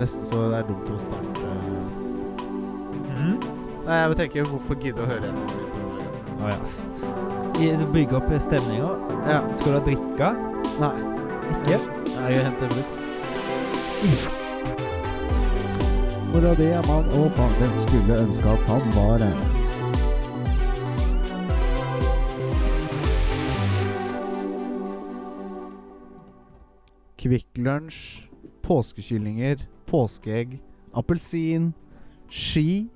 Nesten så det er dumt å starte Mm. Nei, jeg tenker hvorfor gidde å høre gjennom de to greiene? Å ja. I- Bygge opp stemninga. Ja. Skal du ha drikke? Nei. Ikke? Nei, jeg henter brust. Mora di er mann, og faen, hvem skulle ønske at han var en? Kvikk Lunsj, påskekyllinger, påskeegg, appelsin, ski,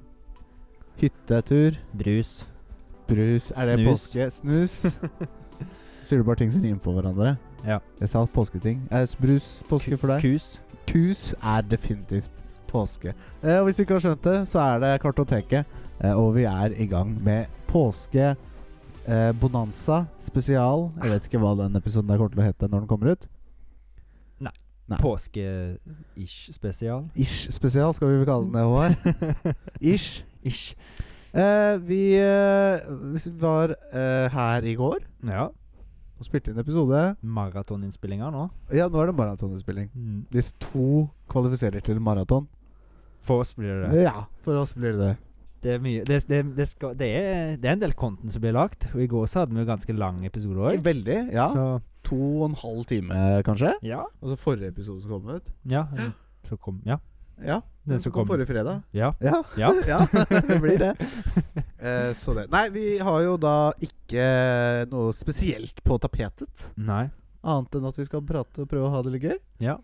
hyttetur, Brus. brus Er det Snus. påske? Snus. Sier du bare ting som rimer på hverandre? Ja. Jeg sa påsketing. Eh, brus, påske for deg. Kus. Kus er definitivt påske. Eh, og hvis du ikke har skjønt det, så er det Kartoteket. Eh, og vi er i gang med påske. Eh, bonanza spesial. Jeg vet ikke hva den episoden der kommer til å hete når den kommer ut. Nei. Påske-ish spesial. Ish spesial skal vi vel kalle den det, Håvard. Ish. Ish. Eh, vi eh, vi var eh, her i går Ja. og spilte inn episode. Maratoninnspillinger nå. Mm. Ja, nå er det maratonspilling. Hvis to kvalifiserer til maraton For oss blir det det. Ja, for oss blir det det. Det er mye Det, det, det, skal, det, er, det er en del content som blir lagt. Og i går så hadde vi jo ganske lang episode òg. Veldig. Ja. Så To og en halv time, kanskje. ja. Og så forrige episode som kom ut. Ja. Så kom Ja. Ja, den som kom forrige fredag. Ja. Ja, Ja. det blir det. Eh, så det. Nei, vi har jo da ikke noe spesielt på tapetet. Nei. Annet enn at vi skal prate og prøve å ha det litt gøy. Ja.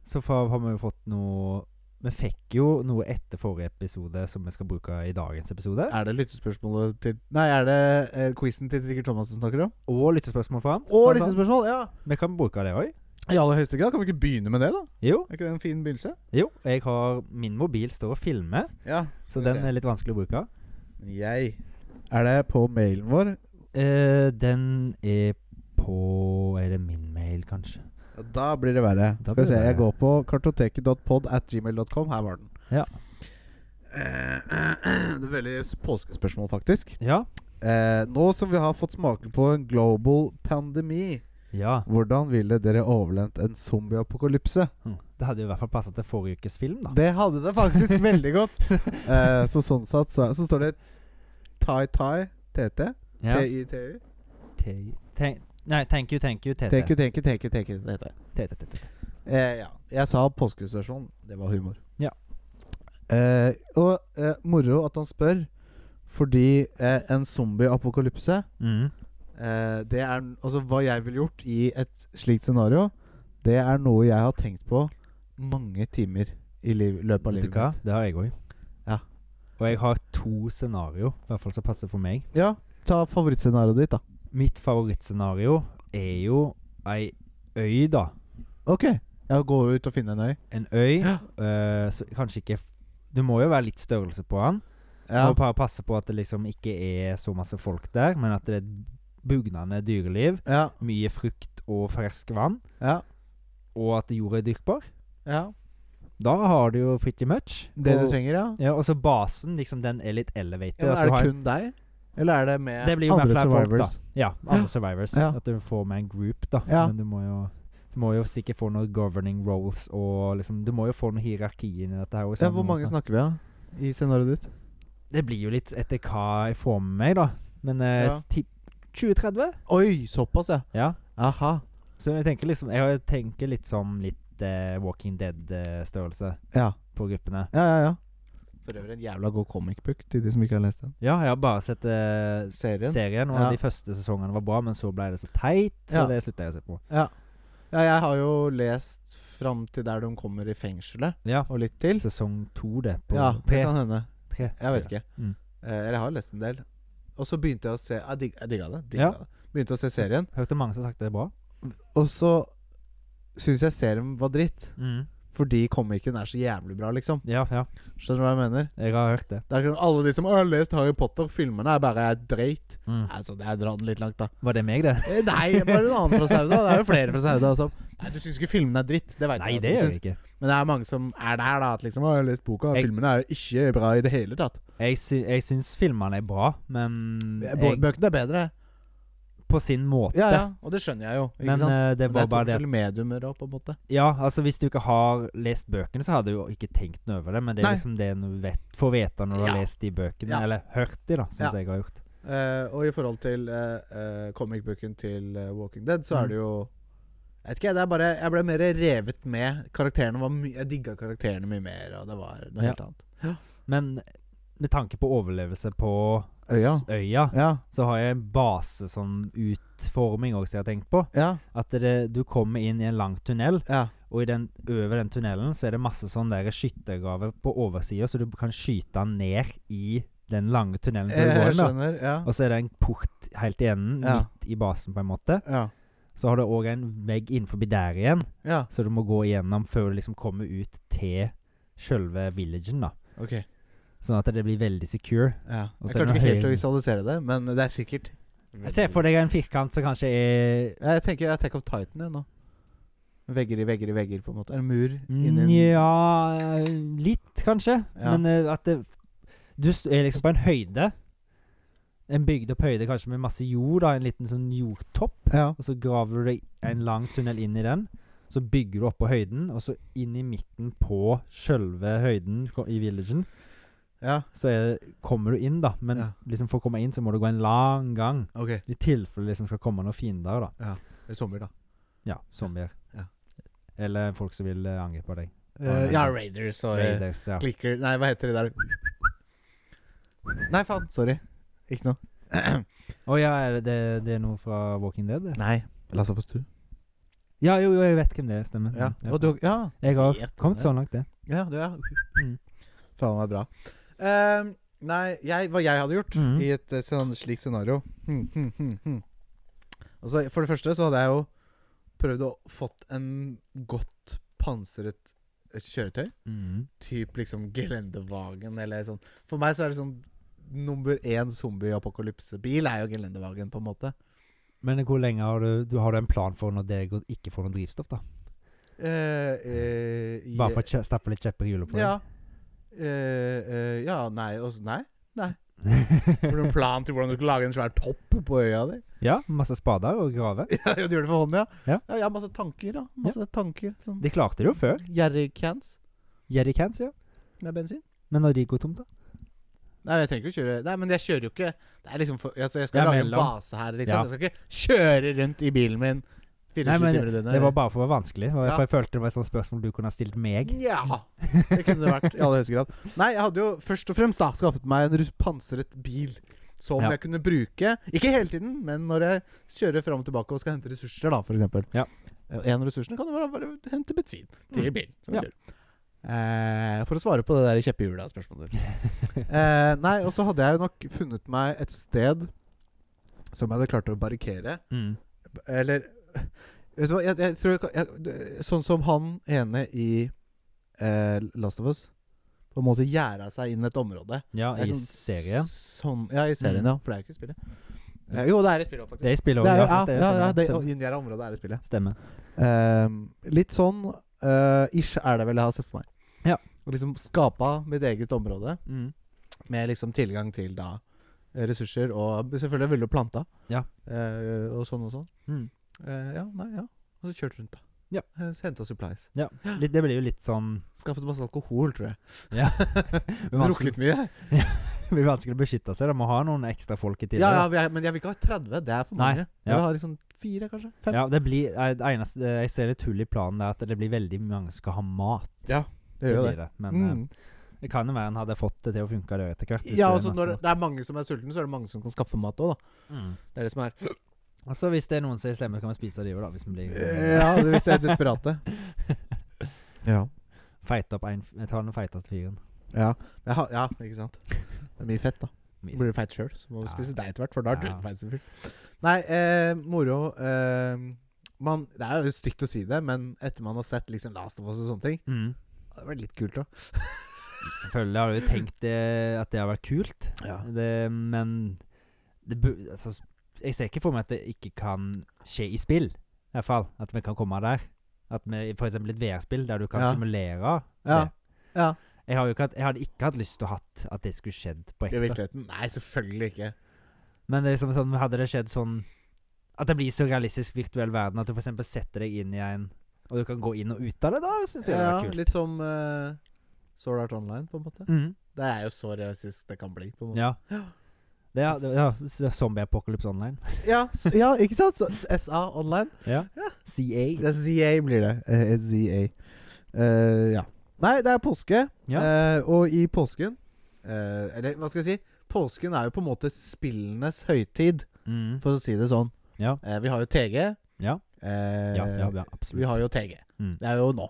Så fa- har vi jo fått noe Vi fikk jo noe etter forrige episode som vi skal bruke i dagens episode. Er det lyttespørsmålet til Nei, er det eh, quizen til Trigger Thomas du snakker om? Og lyttespørsmål fra han. Og Blant annet. lyttespørsmål, ja. Vi kan bruke det òg. I aller høyeste grad. Kan vi ikke begynne med det, da? Jo. Er ikke det en fin begynnelse? Jo. Jeg har Min mobil står og filmer, Ja. så Skal vi den se. er litt vanskelig å bruke. Jeg Er det på mailen vår? Eh, den er på Er det min mail, kanskje? Ja, Da blir det verre. Da Skal vi blir det se, jeg verre. går på kartoteket.pod at gmail.com. Her var den. Ja. Eh, det er veldig s- påskespørsmål, faktisk. Ja. Eh, nå som vi har fått smake på en global pandemi, Ja. hvordan ville dere overlevd en zombieapokalypse? Hm. Det hadde jo i hvert fall passet til forrige ukes film, da. Det hadde det faktisk veldig godt. Eh, så sånn sett så, så står det Tai-Tai TT. Ja. TITU. Te- te- Nei, thank you, thank you, TT. Thank you, thank you, thank you, thank you. Det heter det. TT, TT. Eh, ja. Jeg sa påskestasjon. Det var humor. Ja. Eh, og eh, moro at han spør, fordi eh, en zombie-apokalypse Mm. eh, Det er n- Altså, hva jeg ville gjort i et slikt scenario, det er noe jeg har tenkt på mange timer i liv, løpet av Vet du livet hva? mitt. Det har jeg òg. Ja. Og jeg har to scenario, i hvert fall som passer for meg. Ja, ta favorittscenarioet ditt, da. Mitt favorittscenario er jo ei øy, da. Ok. Ja, gå ut og finne en øy. En øy Ja. eh, så kanskje ikke f Du må jo være litt størrelse på den. Ja. Og bare passe på at det liksom ikke er så masse folk der, men at det er et bugnende dyreliv. Ja. Mye frukt og ferskvann. Ja. Og at jorda er dyrkbar. ja. Da har du jo pretty much. Det og, du trenger, ja. Ja, og så basen, liksom, den er litt elevated. ja at men du er har- det kun deg? Eller er det med Det blir jo med andre flere survivors? folk, da. Ja, andre survivors. Ja. At du får med en group, da. Ja. Men du må jo du må jo sikkert få noen governing roles og liksom Du må jo få noe hierarki inn i dette her. også, Ja, på hvor en mange måte. snakker vi av i scenarioet ditt? Det blir jo litt etter hva jeg får med meg, da. Men Ja. eh, s- ti- 20-30? Oi, såpass, ja. Ja. Aha. Så jeg tenker liksom Jeg tenker litt som litt eh, Walking Dead-størrelse Ja, på gruppene. ja, ja. ja. For øvrig en jævla god comicbook til de som ikke har lest den. Ja, jeg har bare sett eh, Serien? serien, og Ja. de første sesongene var bra, men så ble det så teit, så Ja. det slutta jeg å se på. Ja, jeg har jo lest fram til der de kommer i fengselet, Ja. og litt til. Sesong to, det. På Ja, det tre. kan hende. tre. Jeg vet ikke. Mm. Eh, Eller jeg har lest en del. Og så begynte jeg å se Jeg dig- jeg digga det. Digga Ja. det. Begynte å se serien, Hørte mange som har sagt det er bra. og så syns jeg serien var dritt. Mm. Fordi comicen er så jævlig bra, liksom. Ja, ja. Skjønner du hva jeg mener? Jeg har hørt det. Det er ikke sånn, Alle de som «Å, jeg har lest Harry Potter, filmene er bare dreit. Mm. Altså, det er å dra den litt langt, da. Var det meg, det? Eh, Nei, bare en annen fra Sauda. Det er jo flere fra Sauda også. Nei, Du syns ikke filmene er dritt. Det vet Nei, jeg. at det du gjør syns. jeg ikke. Men det er mange som er der, da. At liksom, «Å, jeg Mm, har lest boka, og Jeg- filmene er jo ikke bra i det hele tatt. Jeg, sy jeg syns filmene er bra, Bø- men jeg, Bøkene er bedre. på sin måte. Ja, ja, og det skjønner jeg jo. Ikke Men sant? eh, det Men var bare det at- to forskjellige mediumer òg, på en måte. Ja, altså hvis du ikke har lest bøkene, så har du jo ikke tenkt noe over det, men det er Nei. liksom det en vet, får vite når du Ja. har lest de bøkene, Ja. eller hørt de, da, syns Ja. jeg har gjort. Eh, og i forhold til uh, comic-booken til eh, Walking Dead, så Mm. er det jo Jeg vet ikke, jeg, det er bare Jeg ble mer revet med. Karakterene var mye Jeg digga karakterene mye mer, og det var noe Ja. helt annet. Men med tanke på overlevelse på Øya. s- øya Ja, så har jeg en base som utforming også jeg har tenkt på. ja, At det, du kommer inn i en lang tunnel, ja. og i den, over den tunnelen så er det masse sånn der skyttergraver på oversida, så du kan skyte den ned i den lange tunnelen til du Eh, Jeg, går jeg inn. da. skjønner. Ja. Og så er det en port helt i enden, Ja. midt i basen, på en måte. Ja. Så har du òg en vegg innenfor der igjen, ja. så du må gå igjennom før du liksom kommer ut til sjølve villagen, da. Ok. Sånn at det blir veldig secure. Ja. Jeg Og så er klarte det ikke høyre- helt å visualisere det, men det er sikkert. Jeg ser for deg en firkant som kanskje er Ja, Jeg tenker jeg Attack of Titan jeg, nå. Vegger i vegger i vegger, på en måte. En mur inni en Nja Litt, kanskje. Ja. Men eh, at det Du s- er liksom på en høyde. En bygd opp høyde kanskje med masse jord, da, en liten sånn jordtopp. Ja. Og så graver du deg en lang tunnel inn i den. Så bygger du opp på høyden, og så inn i midten på sjølve høyden ko- i villagen. ja. Så er, det- kommer du inn, da. Men Ja. liksom for å komme inn, så må du gå en lang gang. Ok. I tilfelle det liksom skal komme noen fiender, da. Det er sommer, da. Ja, zombier. Ja. Eller folk som vil eh, angripe deg. Eh, ja, Raiders og eh, Raiders, ja. Klikker Nei, hva heter det der? Nei, faen. Sorry. Ikke noe. Å ja, er det, det, det er noe fra Walking Dead? det? Nei. Lasse Foss Tue. Ja, jo, jo, jeg vet hvem det er, stemmer. Ja. Mm, Og du, ja. jeg har vet kommet det. så langt, det. ja, du, ja. Mm. Faen meg bra. Ehm, nei, jeg, hva jeg hadde gjort Mhm. i et eh, sånn, slikt scenario hmm, hmm, hmm, hmm. Altså, For det første så hadde jeg jo prøvd å fått en godt pansret eh, kjøretøy. Mm. Typ liksom Gelendewagen eller sånn. For meg så er det sånn nummer én zombie-apokalypse-bil er jo Gelendewagen, på en måte. Men hvor lenge har du, du Har du en plan for når det går- ikke får noe drivstoff, da? Eh, eh, i- Bare for å kje- stappe litt kjepper i hjulet på Ja. Eh, eh, ja, nei og s- Nei. Har du det? en plan til hvordan du skal lage en svær topp på øya di? ja, masse spader og grave. Ja, du gjør det for hånd, ja? Ja. ja jeg har masse tanker, ja. Masse tanker. Sånn. De klarte det jo før. Jerrycans Jerrycans, ja. med bensin. Men når de går tomt, da? Nei, jeg trenger ikke å kjøre Nei, men jeg kjører jo ikke Det er liksom for, altså, Jeg skal Det er lage en mellom. base her, liksom. Ja. Jeg skal ikke kjøre rundt i bilen min 24 Nei, men timer i døgnet. Det var bare for å være vanskelig. og Ja. For jeg følte det var et sånt spørsmål du kunne ha stilt meg. Ja. Det kunne det vært i aller høyeste grad. Nei, jeg hadde jo først og fremst da skaffet meg en rus- pansret bil. Som Ja. jeg kunne bruke, ikke hele tiden, men når jeg kjører fram og tilbake og skal hente ressurser, da, f.eks. Ja. En av ressursene kan jo være bare å hente bensin til Mm. bilen. som Ja. kjører. Eh, for å svare på det der kjeppehjula-spørsmålet. eh, nei, og så hadde jeg jo nok funnet meg et sted som jeg hadde klart å barrikere. Mm. Eller Vet du hva, jeg, jeg tror jeg, kan- jeg, det- Sånn som han ene i eh, Last of Us på en måte gjerda seg inn et område. Ja, Det i er sånn- serien. Sånn, ja, i serien, Mm. ja. For det er jo ikke i spillet. Eh, jo, det er i spillet, faktisk. Det spiller Det er, jo- ja, ja, også, ja. ja, faktisk, det det- sånn inngjerda området er i spillet. Stemmer. Eh, litt sånn eh, ish er det vel jeg har sett for meg. Ja. Og liksom skapa mitt eget område Mm. med liksom tilgang til da eh, ressurser og selvfølgelig ville planta Ja. eh, og sånn og sånn. Mm. Eh, ja, nei, ja. Og så kjørte rundt, da. Ja. Eh, så Henta supplies. Litt, det blir jo litt sånn Skaffet masse alkohol, tror jeg. Ja. Drukket mye. Det blir vanskelig å beskytte seg. De må ha noen ekstra folk i Ja, ja, tillegg. vi er, men jeg vil ikke ha 30. Det er for Nei, mange. Jeg ja. vil ha liksom fire, kanskje. Fem. Ja, det blir eh, Det eneste eh, jeg ser litt hull i planen, er at det blir veldig mange som skal ha mat. det gjør det. blir det. Men Mm. eh, det kan jo være en hadde fått det til å funke der etter hvert. hvis Ja, det er altså masse Når mat. det er mange som er sultne, så er det mange som kan skaffe mat òg, da. mm. Det er det som er Og så hvis det er noen som er slemme, kan vi spise de òg, da. Hvis vi blir Ja, det- hvis det er desperate. Ja. Feite opp en Jeg tar den feiteste fyren. Ja. Jeg har- ja, ikke sant. Det er mye fett, da. Mye Blir du feit sjøl, så må du Ja. spise deg etter hvert, for da er du Ja. feit som full. Nei, eh, moro eh, man, Det er jo stygt å si det, men etter man har sett liksom Last of Us og sånne ting Mm. Det hadde vært litt kult òg. Selvfølgelig har du jo tenkt det, at det har vært kult, Ja. det, men det bu altså, Jeg ser ikke for meg at det ikke kan skje i spill, i hvert fall. At vi kan komme der. At vi, for eksempel et VR-spill der du kan Ja. simulere Ja. det. ja. Jeg, har jo ikke hatt, jeg hadde ikke hatt lyst til å hatt at det skulle skjedd på I ekte. virkeligheten? Nei, selvfølgelig ikke. liksom Men det er som sånn, hadde det skjedd sånn At det blir så realistisk virtuell verden at du f.eks. setter deg inn i en Og du kan gå inn og ut av det, da syns jeg Ja, det er kult. litt som uh, Sword Art Online, på en måte. Mm. Det er jo så realistisk det kan bli. på en måte Ja. Det er, det er, det er Zombie Apocalypse Online. Ja, s- ja ikke sant? Så, s- SA Online. Ja. CA. Det er ZA blir det. Eh, ZA. Eh, ja. Nei, det er påske. Ja. Eh, og i påsken eh, Eller hva skal jeg si? Påsken er jo på en måte spillenes høytid, Mm. for å si det sånn. Ja. Eh, vi har jo TG. Ja. Eh, Ja, ja, ja, Vi absolutt. har jo TG. Mm. Det er jo nå.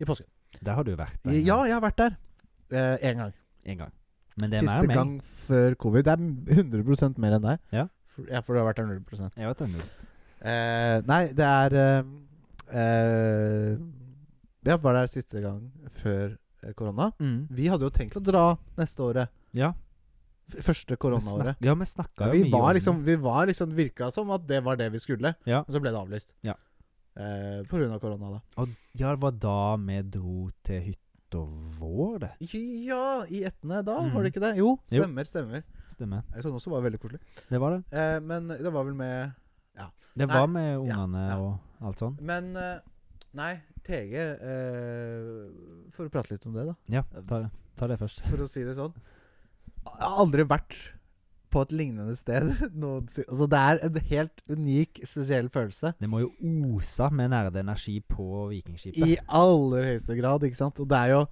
I påsken. Der har du vært en, Ja, jeg har vært der. Én gang. en gang. Men det er mer Siste enn meg. gang før covid. Det er 100 mer enn deg. Ja. For, ja, for du har vært der 100 Jeg vet det. Eh, nei, det er eh, eh, Jeg var der siste gang før eh, korona. Mm. Vi hadde jo tenkt å dra neste året. Ja. F første Vi koronaåret. snak- ja, vi snakka jo vi mye om var det. liksom, vi var liksom virka som at det var det vi skulle, Ja. og så ble det avlyst. Ja. Eh, på grunn av korona, da. Og ja, det var da vi dro til hytta vår, det. Ja, i Etne da, Mm. var det ikke det? Jo, Jo. stemmer, stemmer. Stemmer. Jeg så den også var veldig koselig. Det var det. Eh, men det var vel med Det Nei, var med ungene ja. og alt sånn. Men eh, nei, TG eh, For å prate litt om det, da. Ja, ta det, ta det først. for å si det sånn. Jeg har aldri vært på et lignende sted noensinne. Altså, det er en helt unik, spesiell følelse. Det må jo ose med nerdenergi på Vikingskipet. I aller høyeste grad, ikke sant. Og det er jo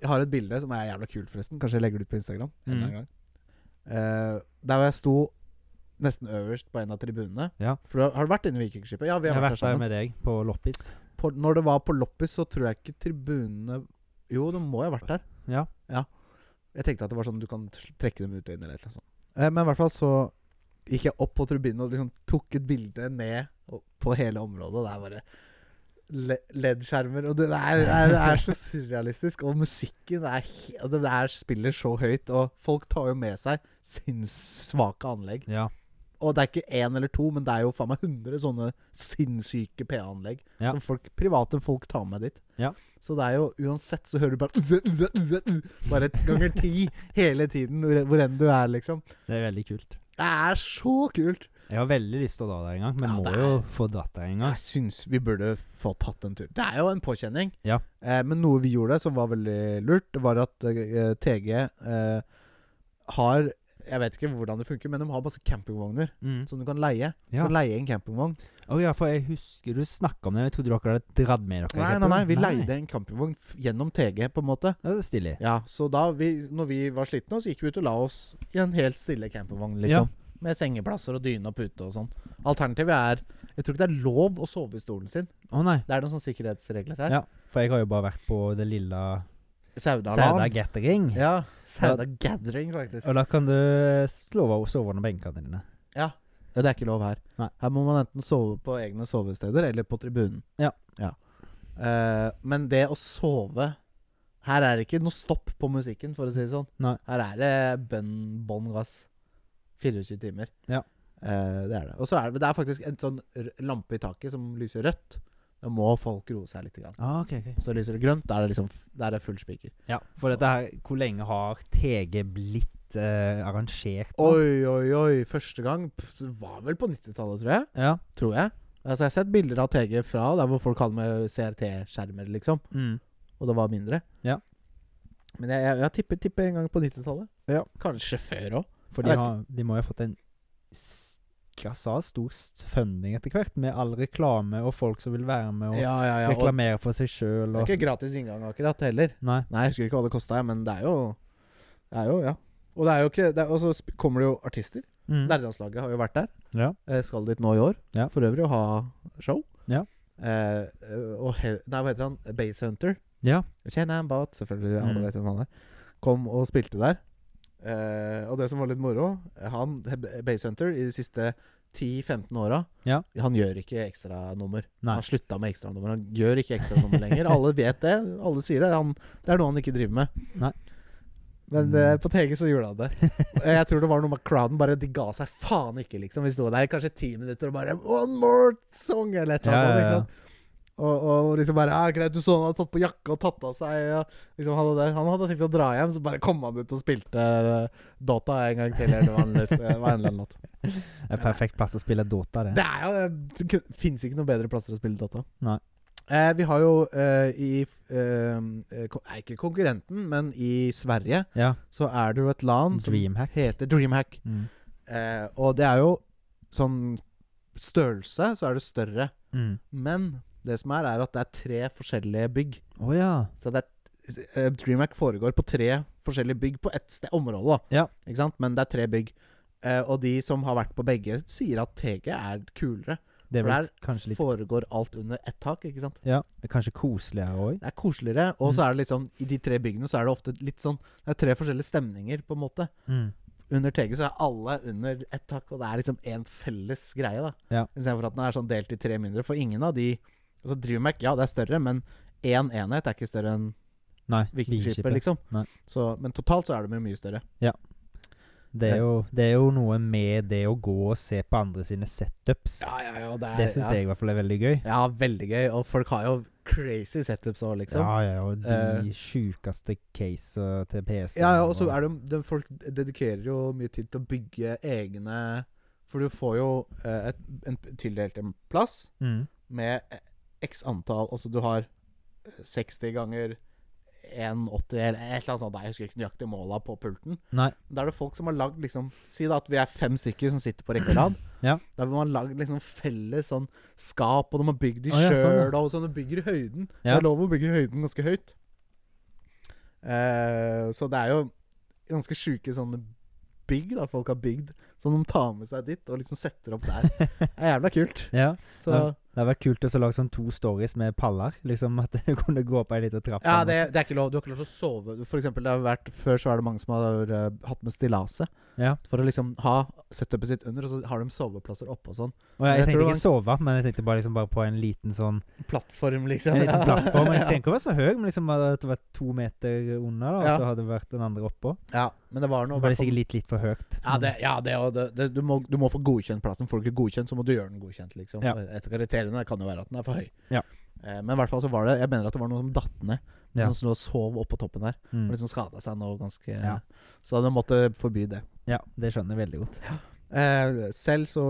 Jeg har et bilde som er jævla kult, forresten. Kanskje jeg legger det ut på Instagram. en eller Mm. annen gang. Eh, der hvor jeg sto nesten øverst på en av tribunene. Ja. For du har, har du vært inne i Vikingskipet? Ja, vi Jeg har har vært der vært der sammen. med deg på loppis. På, når det var på loppis, så tror jeg ikke tribunene Jo, det må jeg ha vært der. Ja. Jeg tenkte at det var sånn du kan tr- trekke dem ut og inn eller et eller annet sånt. Eh, men i hvert fall så gikk jeg opp på tribunen og liksom tok et bilde ned og- på hele området. Og det er bare le- LED-skjermer. Og det det er, det, er, det er så surrealistisk. Og musikken er he- og Det det er spiller så høyt. Og folk tar jo med seg sinnssvake anlegg. Ja. Og det er ikke én eller to, men det er jo faen meg 100 sånne sinnssyke PA-anlegg Ja. som folk, private folk tar med dit. Ja. Så det er jo uansett så hører du bare Bare et ganger ti hele tiden hvor hvor enn du er, liksom. Det er veldig kult. Det er så kult! Jeg har veldig lyst til å dra der en gang, men Ja, det må er- jo få dratt der en gang. Jeg syns vi burde få tatt en tur. Det er jo en påkjenning. Ja. Eh, men noe vi gjorde som var veldig lurt, det var at eh, TG eh, har Jeg vet ikke hvordan det funker, men de har masse campingvogner Mm. som du kan leie. Du Ja. kan leie en campingvogn. Å ja, for jeg husker du snakka om det. Jeg trodde dere hadde dratt med Nei, dere. nei, nei, vi leide en campingvogn f gjennom TG, på en måte. Ja, det er stilig. Ja, Så da vi, når vi var slitne, så gikk vi ut og la oss i en helt stille campingvogn, liksom. Med sengeplasser og dyne og pute og sånn. Alternativet er Jeg tror ikke det er lov å sove i stolen sin. Å nei. Det er noen sånne sikkerhetsregler her. Ja. For jeg har jo bare vært på det lille Sauda Saudaland. Gathering. Ja, Sauda Gathering, faktisk. Og da kan du slå av sove under benkene dine. Ja, det er ikke lov her. Nei. Her må man enten sove på egne sovesteder eller på tribunen. Ja. Eh, men det å sove Her er det ikke noe stopp på musikken, for å si det sånn. Nei. Her er det bønn, bånn gass. 24 timer. Ja. Eh, det er det. Og så er det, det er faktisk en sånn r- lampe i taket som lyser rødt. Da må folk roe seg litt. Grann. Ah, ok, ok. Så lyser det grønt, da er det liksom f- Da er det full spiker. Ja, for dette her Hvor lenge har TG blitt eh, arrangert? nå? Oi, oi, oi. Første gang pff, var vel på 90-tallet, tror jeg. Ja. Tror jeg. Altså, jeg har sett bilder av TG fra der hvor folk hadde med CRT-skjermer, liksom. Mm. Og det var mindre. Ja. Men jeg, jeg, jeg tipper, tipper en gang på 90-tallet. Ja. Kanskje før òg. For Jeg vet de, har, de må jo ha fått en s- kassa stor s- funding etter hvert, med all reklame og folk som vil være med og Ja, ja, ja. Og reklamere for seg sjøl det er og ikke gratis inngang akkurat heller. Nei. Nei, jeg husker ikke hva det kosta, men det er jo Det er jo, ja. Og det er jo ikke det er, Og så sp- kommer det jo artister. Mm. Nærlandslaget har jo vært der. Ja. Eh, skal dit nå i år. Ja. For øvrig å ha show. Ja. Eh, og he, Nei, hva heter han? Base Hunter. Ja. Kjenner en båt, selvfølgelig. Alle Mm. vet hvem han er. Kom og spilte der. Eh, og det som var litt moro Han, Basehunter, i de siste 10-15 åra, Ja. han gjør ikke ekstranummer. Nei. Han slutta med ekstranummer. Han gjør ikke ekstranummer lenger. Alle vet det. Alle sier det. Han, det er noe han ikke driver med. Nei. Mm. Men eh, på TG så gjorde han det. Og Eh, Jeg tror det var noe med crowden. Bare De ga seg faen ikke, liksom. Vi sto der i kanskje ti minutter og bare One more song! Eller et eller annet. sånt, ikke sant? Og, og liksom bare ja, 'Greit, du så han hadde tatt på jakka og tatt av seg' og liksom hadde det. Han hadde tenkt å dra hjem, så bare kom han ut og spilte eh, Dota en gang til. Eller hva enn det var en eller annen låt. Det er perfekt plass å spille Dota, det. Det er jo eh, Det kun- finnes ikke noen bedre plasser å spille Dota. Nei. Eh, vi har jo eh, i eh, ko- Nei, ikke konkurrenten, men i Sverige Ja. så er det jo et land som Dreamhack. heter Dreamhack. Mm. Eh, og det er jo sånn størrelse, så er det større. Mm. Men det som er, er at det er tre forskjellige bygg. Å ja. Så det er, eh, DreamHack foregår på tre forskjellige bygg på ett sted, område. da. Ja. Ikke sant? Men det er tre bygg. Eh, og de som har vært på begge, sier at TG er kulere. Det er For vel det kanskje litt Foregår alt under ett tak, ikke sant? Ja, det er kanskje koseligere òg. Det er koseligere. Og Mhm. så er det liksom, i de tre byggene så er det ofte litt sånn Det er tre forskjellige stemninger, på en måte. Mm. Under TG så er alle under ett tak, og det er liksom en felles greie, da. Ja. Istedenfor at den er sånn delt i tre mindre. For ingen av de Altså DreamHack, ja, det er større, men én enhet er ikke større enn Nei, Vikingskipet, liksom. Nei. Så, men totalt så er de jo mye større. Det, er jo, det er jo noe med det å gå og se på andre sine setups. Ja, ja, ja, det syns jeg i hvert fall er veldig gøy. Ja, veldig gøy. Og folk har jo crazy setups òg, liksom. Ja, ja, og Eh. de sjukeste caser til PC. Ja, ja, og så er det, de folk dedikerer jo mye tid til å bygge egne For du får jo eh, et, en, tildelt en plass mm. med x antall Altså du har 60 ganger 1,80 eller et eller annet sånt. Nei, Jeg husker ikke nøyaktig måla på pulten. Nei. Da er det folk som har lagd liksom Si da at vi er fem stykker som sitter på rekke og rad. Ja. Da har man lagd liksom felles sånn skap, og de har bygd de Å, ja, sjøl, sånn, og sånn. Du bygger i høyden. Ja. Det er lov å bygge i høyden ganske høyt. Eh, så det er jo ganske sjuke sånne bygg da folk har bygd, som de tar med seg dit og liksom setter opp der. Det er jævla kult. Ja, Så Ja. det hadde vært kult å så lage sånn to stories med paller. Liksom At du kunne gå opp ei lita trapp. Ja, det, det er ikke lov. Du har ikke lov til å sove. For eksempel, det har vært, før så er det mange som har eh, hatt med stillaset. Ja. For å liksom ha setupet sitt under, og så har de soveplasser oppe og sånn. Og jeg, Jeg tror tenkte det var ikke sove, men jeg tenkte bare, liksom bare på en liten sånn Plattform, liksom. En liten Ja. plattform. Jeg ja. trenger ikke å være så høy, men liksom hadde det vært to meter under, da, og Ja. så hadde det vært den andre oppå. ja, men det var Nå noe var det hvertfall- sikkert litt, litt for høyt. ja, det, ja, det, og det, det du, må, du må få godkjent plassen. Får du ikke godkjent, så må du gjøre den godkjent. Liksom. Ja. Et av kriteriene kan jo være at den er for høy. Ja. Eh, men i hvert fall så var det Jeg mener at det var noen som datt ned. Ja. Som lå og sov oppå toppen der. Mm. Og liksom skada seg nå ganske Ja. Så de måtte forby det. Ja, det skjønner jeg veldig godt. Eh, selv så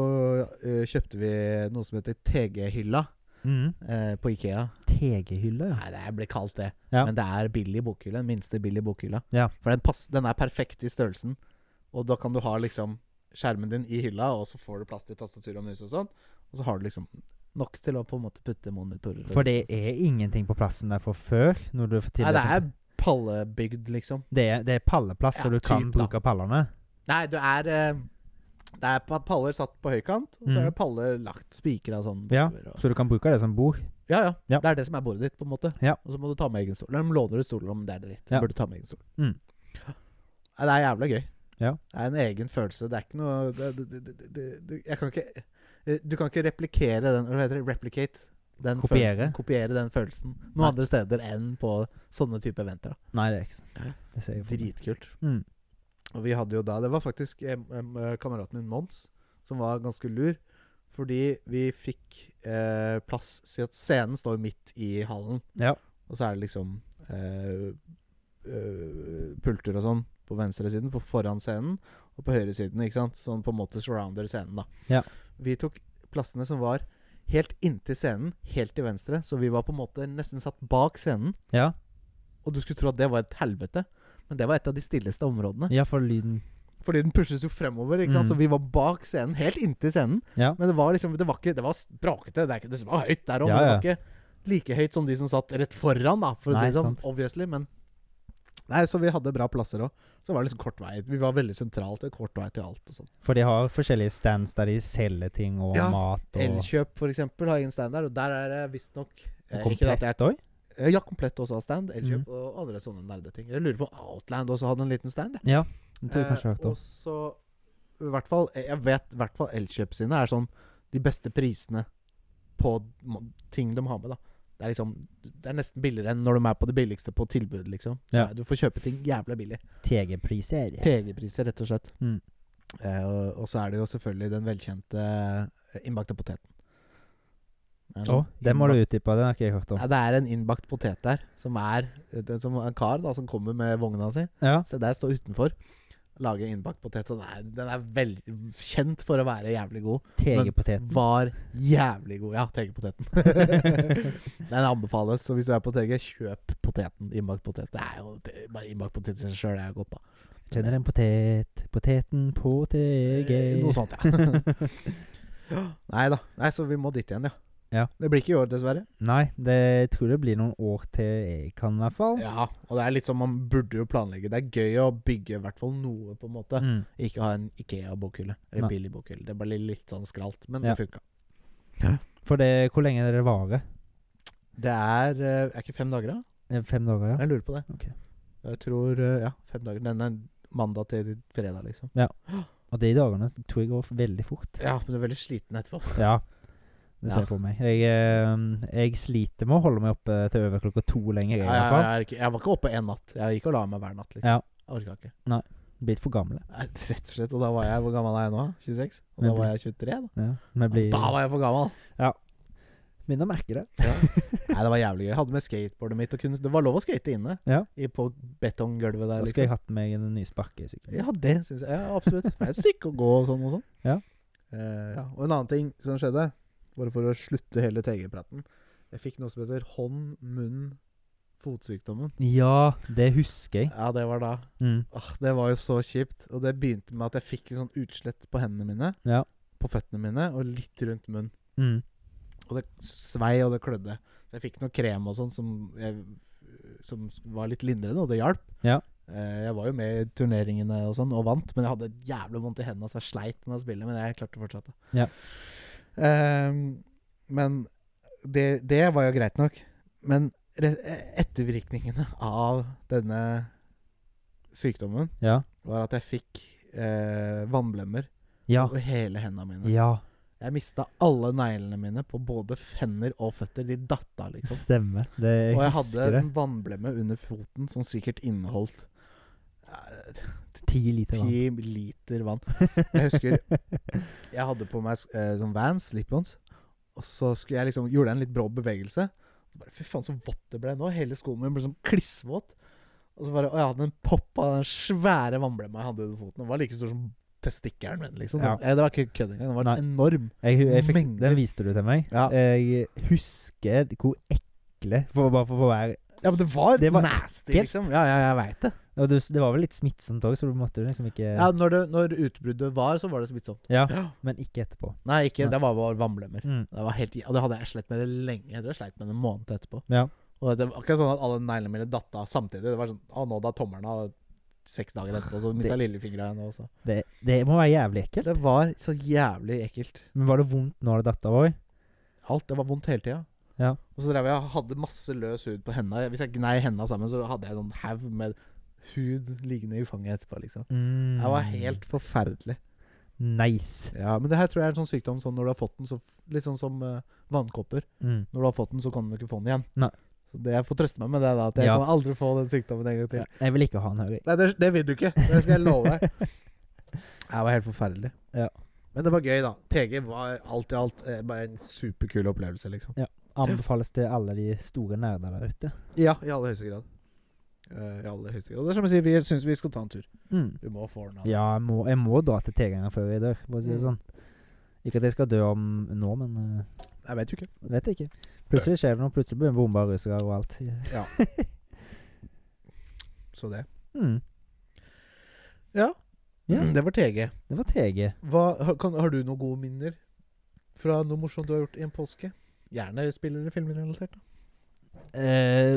eh, kjøpte vi noe som heter TG-hylla Mm. eh, på Ikea. TG-hylle, ja. Nei, det blir kalt det. Ja. Men det er billig bokhylle. Den minste billig bokhylla. Ja. For den, pass, den er perfekt i størrelsen. Og da kan du ha liksom skjermen din i hylla, og så får du plass til tastatur og mus og sånn. Og så har du liksom nok til å på en måte putte monitorer og For det sånn. er ingenting på plassen der fra før. Når du får Nei, det er tildelt- pallebygd, liksom. det, er, det er palleplass, Ja, så du kan typ, da. bruke pallene. Nei, du er eh, Det er pa- paller satt på høykant, og så Mm. er det paller lagt spikra sånn Ja. bortover og- Så du kan bruke det som bord. Ja, ja, Ja. Det er det som er bordet ditt, på en måte. Ja. Og så må du ta med egen stol. Eller de låner ut stoler om det er dritt. Du Ja. burde ta med egen stol. Mm. Ja, det er jævla gøy. Ja. Det er en egen følelse. Det er ikke noe det, det, det, det, det, det, Jeg kan ikke eh, Du kan ikke replikere den Hva heter det? Replicate. Den Kopiere. Følelsen, kopiere den følelsen noen Nei. andre steder enn på sånne type eventer. Da. Nei, det er ikke Ja. sant. Det ser jeg for meg. Dritkult. Mm. Og vi hadde jo da Det var faktisk em, em, eh, kameraten min Mons som var ganske lur. Fordi vi fikk eh, plass Si at scenen står midt i hallen. Ja. Og så er det liksom eh, eh, pulter og sånn på venstresiden, for foran scenen, og på høyresiden, ikke sant? Sånn på en måte surrounder scenen, da. Ja. Vi tok plassene som var helt inntil scenen, helt til venstre, så vi var på en måte nesten satt bak scenen. Ja. Og du skulle tro at det var et helvete, men det var et av de stilleste områdene. ja, for lyden Fordi den pushes jo fremover, ikke sant? Mm. så vi var bak scenen, helt inntil scenen. Ja. Men det var liksom Det var ikke Det var brakete. Det, er ikke, det var høyt der òg, Ja, men det ja. var ikke like høyt som de som satt rett foran, da, for å Nei, si det sånn. sant. Obviously, men Nei, så vi hadde bra plasser òg. Så det var liksom kort vei. Vi var veldig sentralt. Det er kort vei til alt og sånn. For de har forskjellige stands der de selger ting og Ja, mat og Elkjøp, for eksempel, har egen stand der, og der er det visstnok eh, ikke at Komplett Mm. jeg- òg? Eh, Ja, komplett også har stand. Elkjøp og andre sånne nerdeting. Jeg lurer på om Outland også hadde en liten stand. jeg. Ja. Det tror jeg kanskje jeg har hørt Eh, om. og så i hvert fall, eh, Jeg vet i hvert fall Elkjøp sine er sånn de beste prisene på m- ting de har med. da Det er liksom Det er nesten billigere enn når de er på det billigste på tilbud, liksom. Så Ja. er- Du får kjøpe ting jævla billig. TG-priser. TG-priser, rett og slett. Mm. Eh, og, og så er det jo selvfølgelig den velkjente eh, innbakte poteten. Det er Å, en sånn det må du innbakt- utdype. Den har ikke jeg hørt om. Nei, det er en innbakt potet der, som er det er som en kar da, som kommer med vogna si. Ja. Se der, står utenfor. Lager innbakt potet. og Den er, den er vel, kjent for å være jævlig god. Tegepotet. Var jævlig god. Ja, Tegepoteteten. den anbefales. Så hvis du er på TG, kjøp poteten. Innbakt potet. Det er jo det, bare innbakt potet i seg sjøl, det er jo godt, da. Kjenner en potet. Poteten på Eh, TG. Noe sånt, ja. Nei da. Nei, så vi må dit igjen, ja. Ja. Det blir ikke i år, dessverre. Nei, det jeg tror det blir noen år til jeg kan, i hvert fall. Ja, og det er litt som man burde jo planlegge. Det er gøy å bygge i hvert fall noe, på en måte. Mm. Ikke ha en Ikea-bokhylle. Eller Nei. en billig bokhylle. Det ble litt sånn skralt, men Ja. det funka. For det, hvor lenge det varer? Det er eh, Er ikke fem dager, da? Eh, Fem dager, ja? Jeg lurer på det. Ok. Jeg tror eh, Ja, fem dager. Den er mandag til fredag, liksom. Og de dagene så tror jeg går veldig fort. Ja, men du er veldig sliten etterpå. Ja. Det Ja. ser jeg for meg. Jeg, eh, jeg sliter med å holde meg oppe til over klokka to lenger, jeg, i jeg, hvert fall. jeg, er ikke, jeg var ikke oppe én natt. Jeg gikk og la meg hver natt, liksom. Ja. Jeg orka ikke. Blitt for gamle. Nei, rett og slett. Og da var jeg Hvor gammel er jeg nå? 26? Og Men da var jeg 23, da. Ja. Men blir Da var jeg for gammel! Begynner å merke det. Nei, det var jævlig gøy. Jeg hadde med skateboardet mitt og kunne Det var lov å skate inne. Ja. I, på betonggulvet der. Da Liksom. skulle jeg hatt meg en ny sparkesykkel. Ja, det syns jeg. Ja, absolutt. Det er et stykke å gå og sånn og sånn. Ja. Eh, ja. Og en annen ting som skjedde, bare for å slutte hele TG-praten Jeg fikk noe som heter hånd, munn, fotsykdommen. Ja, det husker jeg. Ja, det var da. Mm. Åh, det var jo så kjipt. Og det begynte med at jeg fikk en sånn utslett på hendene mine, Ja. på føttene mine, og litt rundt munnen. Mm. Og det svei, og det klødde. Så jeg fikk noe krem og sånn som, jeg- som var litt lindrende, og det hjalp. Ja. Eh, Jeg var jo med i turneringene og sånn, og vant, men jeg hadde jævlig vondt i hendene, så jeg sleit med å spille, men jeg klarte å fortsette. Ja. Ehm, men det, det var jo greit nok. Men re- ettervirkningene av denne sykdommen Ja. var at jeg fikk eh, vannblemmer Ja. over hele hendene mine. Ja. Jeg mista alle neglene mine på både fender og føtter. De datta, liksom. Stemmer. Det, jeg Og jeg hadde husker det. en vannblemme under foten som sikkert inneholdt eh, Ti liter vann. ti liter vann. Jeg husker jeg hadde på meg eh, sånn Vans, slip-ons, og så skulle jeg liksom gjorde jeg en litt brå bevegelse. Bare, Fy faen, så vått det ble nå. Hele skoen min ble sånn klissvåt. Og så bare Å ja, den poppa, den svære vannblemma jeg hadde under foten. Den var like stor som testikkelen min, liksom. Ja. Eh, Det var ikke kødd engang. Den var Nei. enorm. Jeg, jeg fikk, Mengder. den viste du til meg. Ja. Jeg husker hvor ekle for, Bare for å være Ja, men det var, Det var nasty, ekkelt. liksom. Ja, ja, jeg veit det. Og du, det var vel litt smittsomt òg, så du måtte jo liksom ikke Ja, når, det, når utbruddet var, så var det smittsomt. Ja, Men ikke etterpå. Nei, ikke, Nei. det var bare vannblemmer. Mm. Det var helt, og det hadde jeg slett med det lenge. Jeg tror jeg sleit med det en måned etterpå. Ja. Og det var ikke sånn at alle neglene mine datt av samtidig. Det var sånn Å, nå da tommelen av seks dager etterpå, så mista jeg lillefingra igjen altså.» også. Det, det må være jævlig ekkelt. Det var så jævlig ekkelt. Men var det vondt når det datt av òg? Alt. Det var vondt hele tida. Ja. Og så drev jeg og hadde masse løs hud på henda. Hvis jeg gnei henda sammen, så hadde jeg noen haug med hud liggende i fanget etterpå, liksom. Mm. Det var helt forferdelig. nice. Ja, men det her tror jeg er en sånn sykdom sånn når du har fått den, så f- litt sånn som eh, vannkopper. Mm. Når du har fått den, så kan du ikke få den igjen. Nei. Så det jeg får trøste meg med det, da, at jeg Ja. kommer aldri få den sykdommen en gang til. Ja, jeg vil ikke ha den her. jeg. Nei, det, det vil du ikke. Det skal jeg love deg. Det var helt forferdelig. Ja. Men det var gøy, da. TG var alt i alt eh, bare en superkul opplevelse, liksom. Anbefales til alle de store nerder der ute. Ja, i aller høyeste grad. Eh, I aller høyeste grad. Og det er som jeg sier, vi syns vi skal ta en tur. Mm. Du må få den av. Ja, jeg må, jeg må dra til T-ganger før jeg dør, for å si Mm. det sånn. Ikke at jeg skal dø om nå, men eh, Jeg vet jo ikke. Vet jeg ikke. Plutselig skjer det noe. Plutselig blir det bomba russere og alt. Mm. Så det. Mm. Ja. Ja. Det var TG. Det var TG. Hva, har- kan, har du noen gode minner fra noe morsomt du har gjort i en påske? Gjerne spill- eller filmrelatert. da. Eh,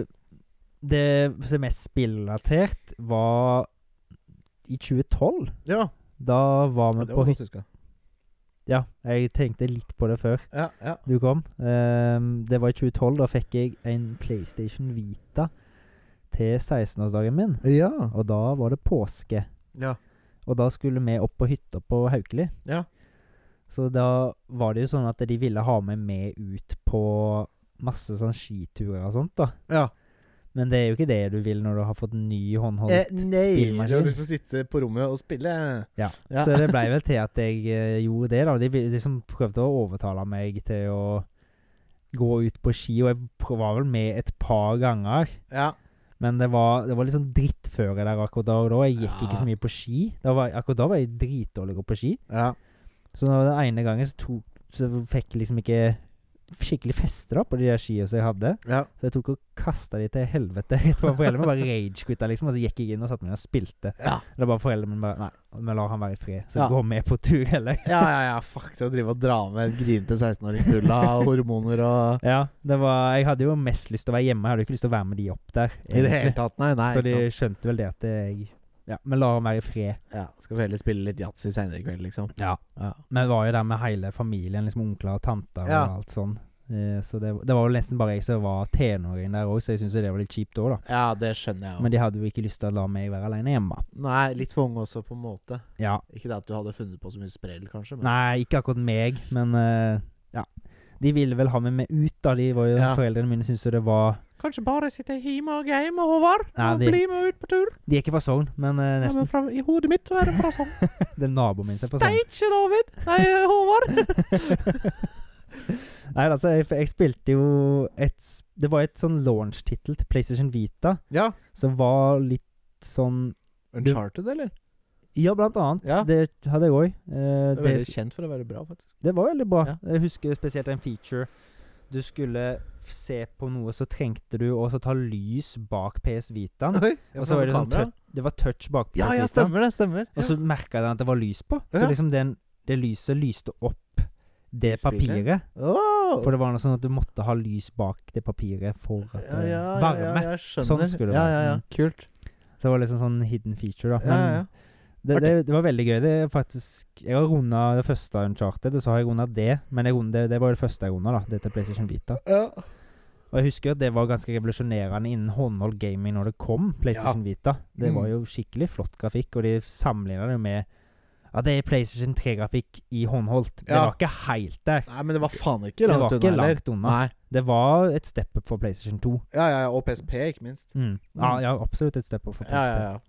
det som er mest spillrelatert, var i 2012. Ja, Da var vi det på var hytta godt huska. Ja, jeg tenkte litt på det før Ja, ja. du kom. Eh, det var i 2012. Da fikk jeg en PlayStation Vita til 16-årsdagen min. Ja. Og da var det påske. ja. Og da skulle vi opp på hytta på Haukeli. Ja. Så da var det jo sånn at de ville ha meg med ut på masse sånn skiturer og sånt, da. ja. Men det er jo ikke det du vil når du har fått en ny håndholdt Eh, nei, du har spillmaskin. lyst til å sitte på rommet og spille. Ja. Ja. Så det blei vel til at jeg eh, gjorde det, da. De, vil- de som prøvde å overtale meg til å gå ut på ski, og jeg prø- var vel med et par ganger. Ja. Men det var, det var litt sånn drittføre der akkurat da og da. Jeg gikk Ja. ikke så mye på ski. Da var, akkurat da var jeg dritdårlig på ski. ja. Så når den ene gangen så, tok, så fikk jeg liksom ikke skikkelig feste da på de der skia som jeg hadde. ja. Så jeg tok og kasta de til helvete rett foran foreldrene mine. Bare rage-quitta, liksom. Og så gikk jeg inn og satte meg ned og spilte. Ja. Og da bare foreldrene mine bare Nei, vi lar han være i fred. Så Ja. gå med på tur, eller? Ja, ja, ja, fuck det å drive og dra med grinete 16-åring full av hormoner og Ja, det var Jeg hadde jo mest lyst til å være hjemme. Jeg hadde jo ikke lyst til å være med de opp der. I det hele egentlig. tatt, nei. nei så ikke de sant? skjønte vel det at jeg Ja, men la han være i fred. Ja, Skal vi heller spille litt yatzy seinere i kveld, liksom. Ja. Ja. Men jeg var jo der med hele familien, liksom onkler og tanter Ja. og alt sånn. Eh, så det, det var jo nesten bare jeg som var tenåring der òg, så jeg syntes jo det var litt kjipt òg, da. ja, det skjønner jeg jo. Men de hadde jo ikke lyst til å la meg være alene hjemme. Nei, litt for unge også, på en måte. Ja. Ikke det at du hadde funnet på så mye sprell, kanskje. Men Nei, ikke akkurat meg, men eh, ja. De ville vel ha meg med ut, da. De var jo, Ja. Foreldrene mine syntes jo det var Kanskje bare sitte hjemme og game, Håvard. Ja, og det- bli med ut på tur. De er ikke fra Sogn, men eh, Ja, men nesten. fra, I hodet mitt så er det fra sånn. Det er naboen min som er sånn. fra Sogn. Steikje, David! Nei, Håvard. Nei, altså, jeg, jeg spilte jo et s- Det var et sånn launch-tittel til PlayStation Vita Ja. som var litt sånn Uncharted, eller? Ja, blant annet. Ja. Det hadde jeg òg. Det er veldig kjent for å være bra, faktisk. Det var veldig bra. Ja. Jeg husker spesielt en feature. Du skulle se på noe, så trengte du også ta lys bak PS Vitaen. Oi, ja, og så var det, sånn kamera. touch, det var touch bak PS Ja, ja, Vitaen. stemmer det. Stemmer. Og så merka den at det var lys på. Så Ja. liksom den, det lyset lyste opp det I spillet? papiret. Åh! For det var noe sånn at du måtte ha lys bak det papiret for at ja, det ja, ja, varme. ja, jeg skjønner. Sånn skulle det ja, være. ja, ja. Mm. Kult. Så det var liksom sånn hidden feature, da. Ja, Men ja. Det, det, det var veldig gøy. Det er faktisk Jeg har runda det første Uncharted, og så har jeg runda det. Men jeg runda, det var jo det første jeg runda, da. Det til PlayStation Vita. ja. Og jeg husker at det var ganske revolusjonerende innen håndholdt gaming når det kom, PlayStation Vita. Det Mm. var jo skikkelig flott grafikk, og de sammenligna det jo med Ja, det er PlayStation 3-grafikk i håndholdt. Det Ja. var ikke helt der. Nei, men det var faen ikke Det langt var ikke unna, eller? langt unna. Nei. Det var et step up for PlayStation 2. Ja, ja, ja. Og PSP, ikke minst. Mm. Ja, ja, absolutt et step up for PlayStation 2. Ja, ja, ja.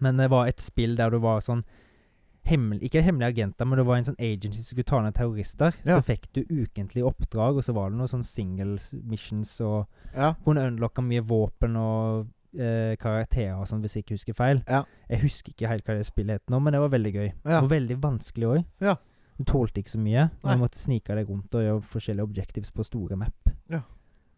Men det var et spill der du var sånn hemmel- Ikke hemmelige agenter, men det var en sånn agency som skulle ta ned terrorister. Ja. Så fikk du ukentlig oppdrag, og så var det noen sånn singles missions og ja. Kunne unlocka mye våpen og eh, karakterer og sånn, hvis jeg ikke husker feil. Ja. Jeg husker ikke helt hva det spillet het nå, men det var veldig gøy. Ja. Og veldig vanskelig òg. Ja. Du tålte ikke så mye. Nei. Du måtte snike deg rundt og gjøre forskjellige objectives på store map. Det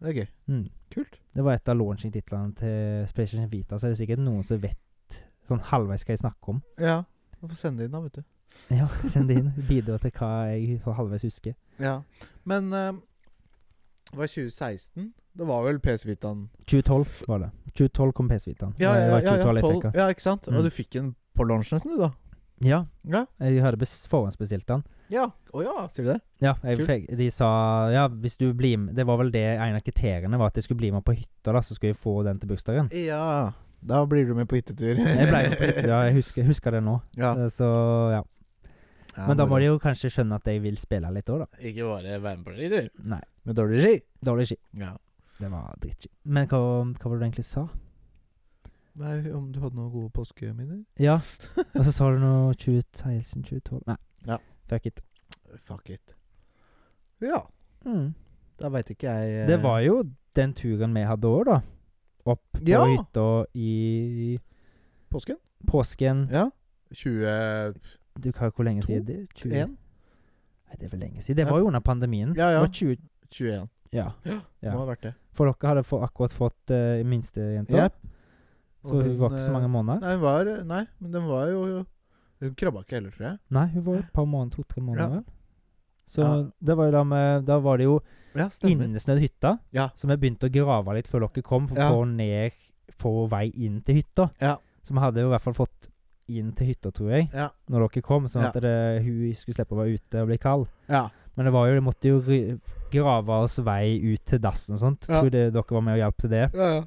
er gøy. Mm. Kult. Det var et av launching-titlene til PlayStation Vita, så er det sikkert noen som vet sånn halvveis hva jeg snakker om. Ja. Du får sende det inn, da, vet du. Ja, send det inn. Bidra til hva jeg for halvveis husker. Ja. Men eh, det var 2016? Det var vel PS Vitaen 2012 var det. 2012 kom PS Vitaen. Ja, Nei, det ja, var ja, ja, 2012 jeg fikk 12, den. ja, ikke sant? Mm. Og du fikk en på launch nesten, du, da? Ja, Ja. jeg hadde bes- forhåndsbestilt den. Ja, Å ja, sier du det? Ja, jeg Kult. fikk, de sa Ja, hvis du blir med Det var vel det en av kriteriene var at jeg skulle bli med på hytta, da, så skulle jeg få den til bursdagen. Ja. Da blir du med på hyttetur. Jeg ble med på hytta, ja, jeg husker, jeg husker det nå. Ja. Eh, Så ja. Ja, Men da må moro. de jo kanskje skjønne at jeg vil spille litt òg, da. Ikke bare være med på skitur. Nei, Med dårlig ski. dårlig ski. Ja. Det var drittski. Men hva, hva var det du egentlig sa? Nei, om du hadde noen gode påskeminner? Ja, og så sa du noe 2016, 2012 Nei, Ja. fuck it. Fuck it. Ja. Mm. Da veit ikke jeg eh, Det var jo den turen vi hadde òg, da. Opp på Ja. hytta i eh, Påsken? påsken Ja. 21? du, hva, Hvor lenge siden? Det, 20 Nei, det er vel lenge siden. Det var jo under pandemien. Ja, ja. Det var 20, 21. ja. Ja. Må ha vært det. For dere hadde få, akkurat fått uh, minstejenta, Jep. så hun var ikke så mange måneder. eh, Nei, hun var, nei, men den var jo Hun krabba ikke heller, tror jeg. Nei, hun var jo et par måneder, to-tre måneder. Ja. vel. Så Ja. det var jo da med Da var det jo Ja, stemmer. innesnødd hytta, Ja. så vi begynte å grave litt før dere kom, for Ja. å få ned Få vei inn til hytta. Ja. Så vi hadde jo i hvert fall fått inn til hytta, tror jeg. Ja. når dere kom, sånn at det, hun skulle slippe å være ute og bli kald. ja. Men det var jo, de måtte jo ry- grave oss vei ut til dassen og sånt. Ja. Tror det, dere var med og hjalp til det. ja, ja.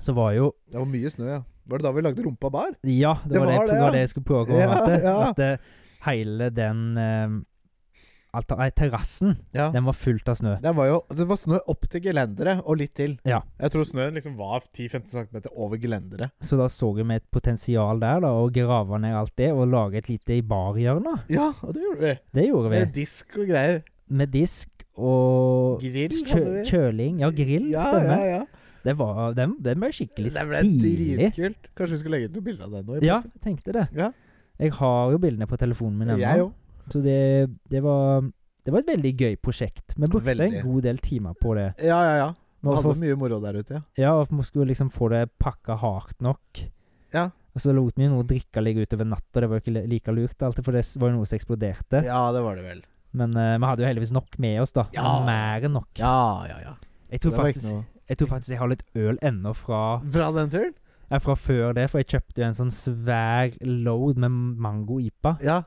Så var jo Det var mye snø, ja. Var det da vi lagde rumpa bar? Ja, det, var, det, det, ja. var det jeg skulle prøve å komme Ja, fram til. ja. At eh, hele den eh, alta- Nei, terrassen, Ja. den var fullt av snø. Det var jo det var snø opp til gelenderet, og litt til. Ja. Jeg tror snøen liksom var 10-15 cm over gelenderet. Så da så vi et potensial der, da, å grave ned alt det og lage et lite barhjørne. Ja, og det gjorde vi. Det gjorde vi. Med disk og greier. med disk og Grill, kjø kjøling. Ja, grill, ja, stemmer. Ja, ja. Det var, den, den ble skikkelig Det ble stilig. dritkult. Kanskje vi skulle legge ut noen bilder av det nå? i Ja, jeg tenkte det. Ja. Jeg har jo bildene på telefonen min påsken? Jeg ennå. òg. Så det, det var det var et veldig gøy prosjekt. Vi brukte Veldig. en god del timer på det. Ja, ja, ja. Nå Vi hadde får- mye moro der ute, ja. Ja, og vi skulle liksom få det pakka hardt nok. Ja. Og så lot vi jo noe drikke ligge utover natta, det var jo ikke li- like lurt alltid, for det s- var jo noe som eksploderte. Ja, det var det vel. Men eh, vi hadde jo heldigvis nok med oss, da. Ja. Mer enn nok. Ja, ja, ja. Jeg tror, Det var ikke faktisk, noe- jeg tror faktisk jeg har litt øl ennå fra, Fra den turen? eh, fra før det, for jeg kjøpte jo en sånn svær load med mango-ipa. Ja.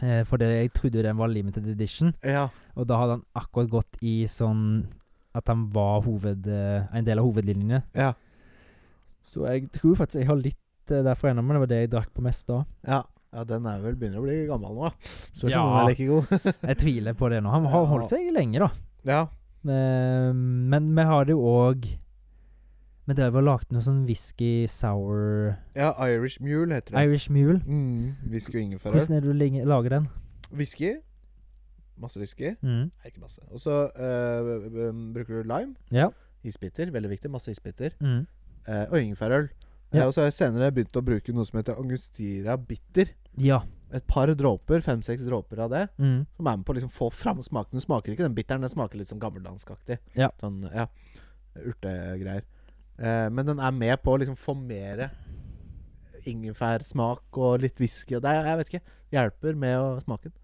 Eh, for det, jeg trodde jo den var limited edition, Ja. og da hadde han akkurat gått i sånn at han var hoved, eh, en del av hovedlinjene. Ja. Så jeg tror faktisk jeg har litt eh, derfra ennå, men det var det jeg drakk på mest da. Ja, ja den er vel begynner å bli gammel nå, da. Spørs Ja. om den er like god. Jeg tviler på det nå. Han har Ja. holdt seg lenge, da. ja. Eh, Men vi har det jo òg Vi drev og lagde noe sånn whisky sour ja, Irish Mule heter det. Irish Mule. Mm, whisky og ingefærøl. Hvordan er det du ling- lager den? Whisky. Masse whisky. Mm. Nei, ikke masse. Og så eh, b- b- bruker du lime. Ja. Isbiter. Veldig viktig. Masse isbiter. Mm. Eh, og ingefærøl. Ja. Eh, og så har jeg senere begynt å bruke noe som heter angustira bitter. Ja. Et par dråper, fem-seks dråper av det, Mm. som er med på å liksom få fram smaken. Den smaker ikke den bitteren, den smaker litt sånn gammeldanskaktig. Ja. Sånn, ja. Urtegreier. Eh, men den er med på å liksom få mere ingefærsmak og litt whisky. Og det er, jeg vet ikke. Hjelper med å smaken.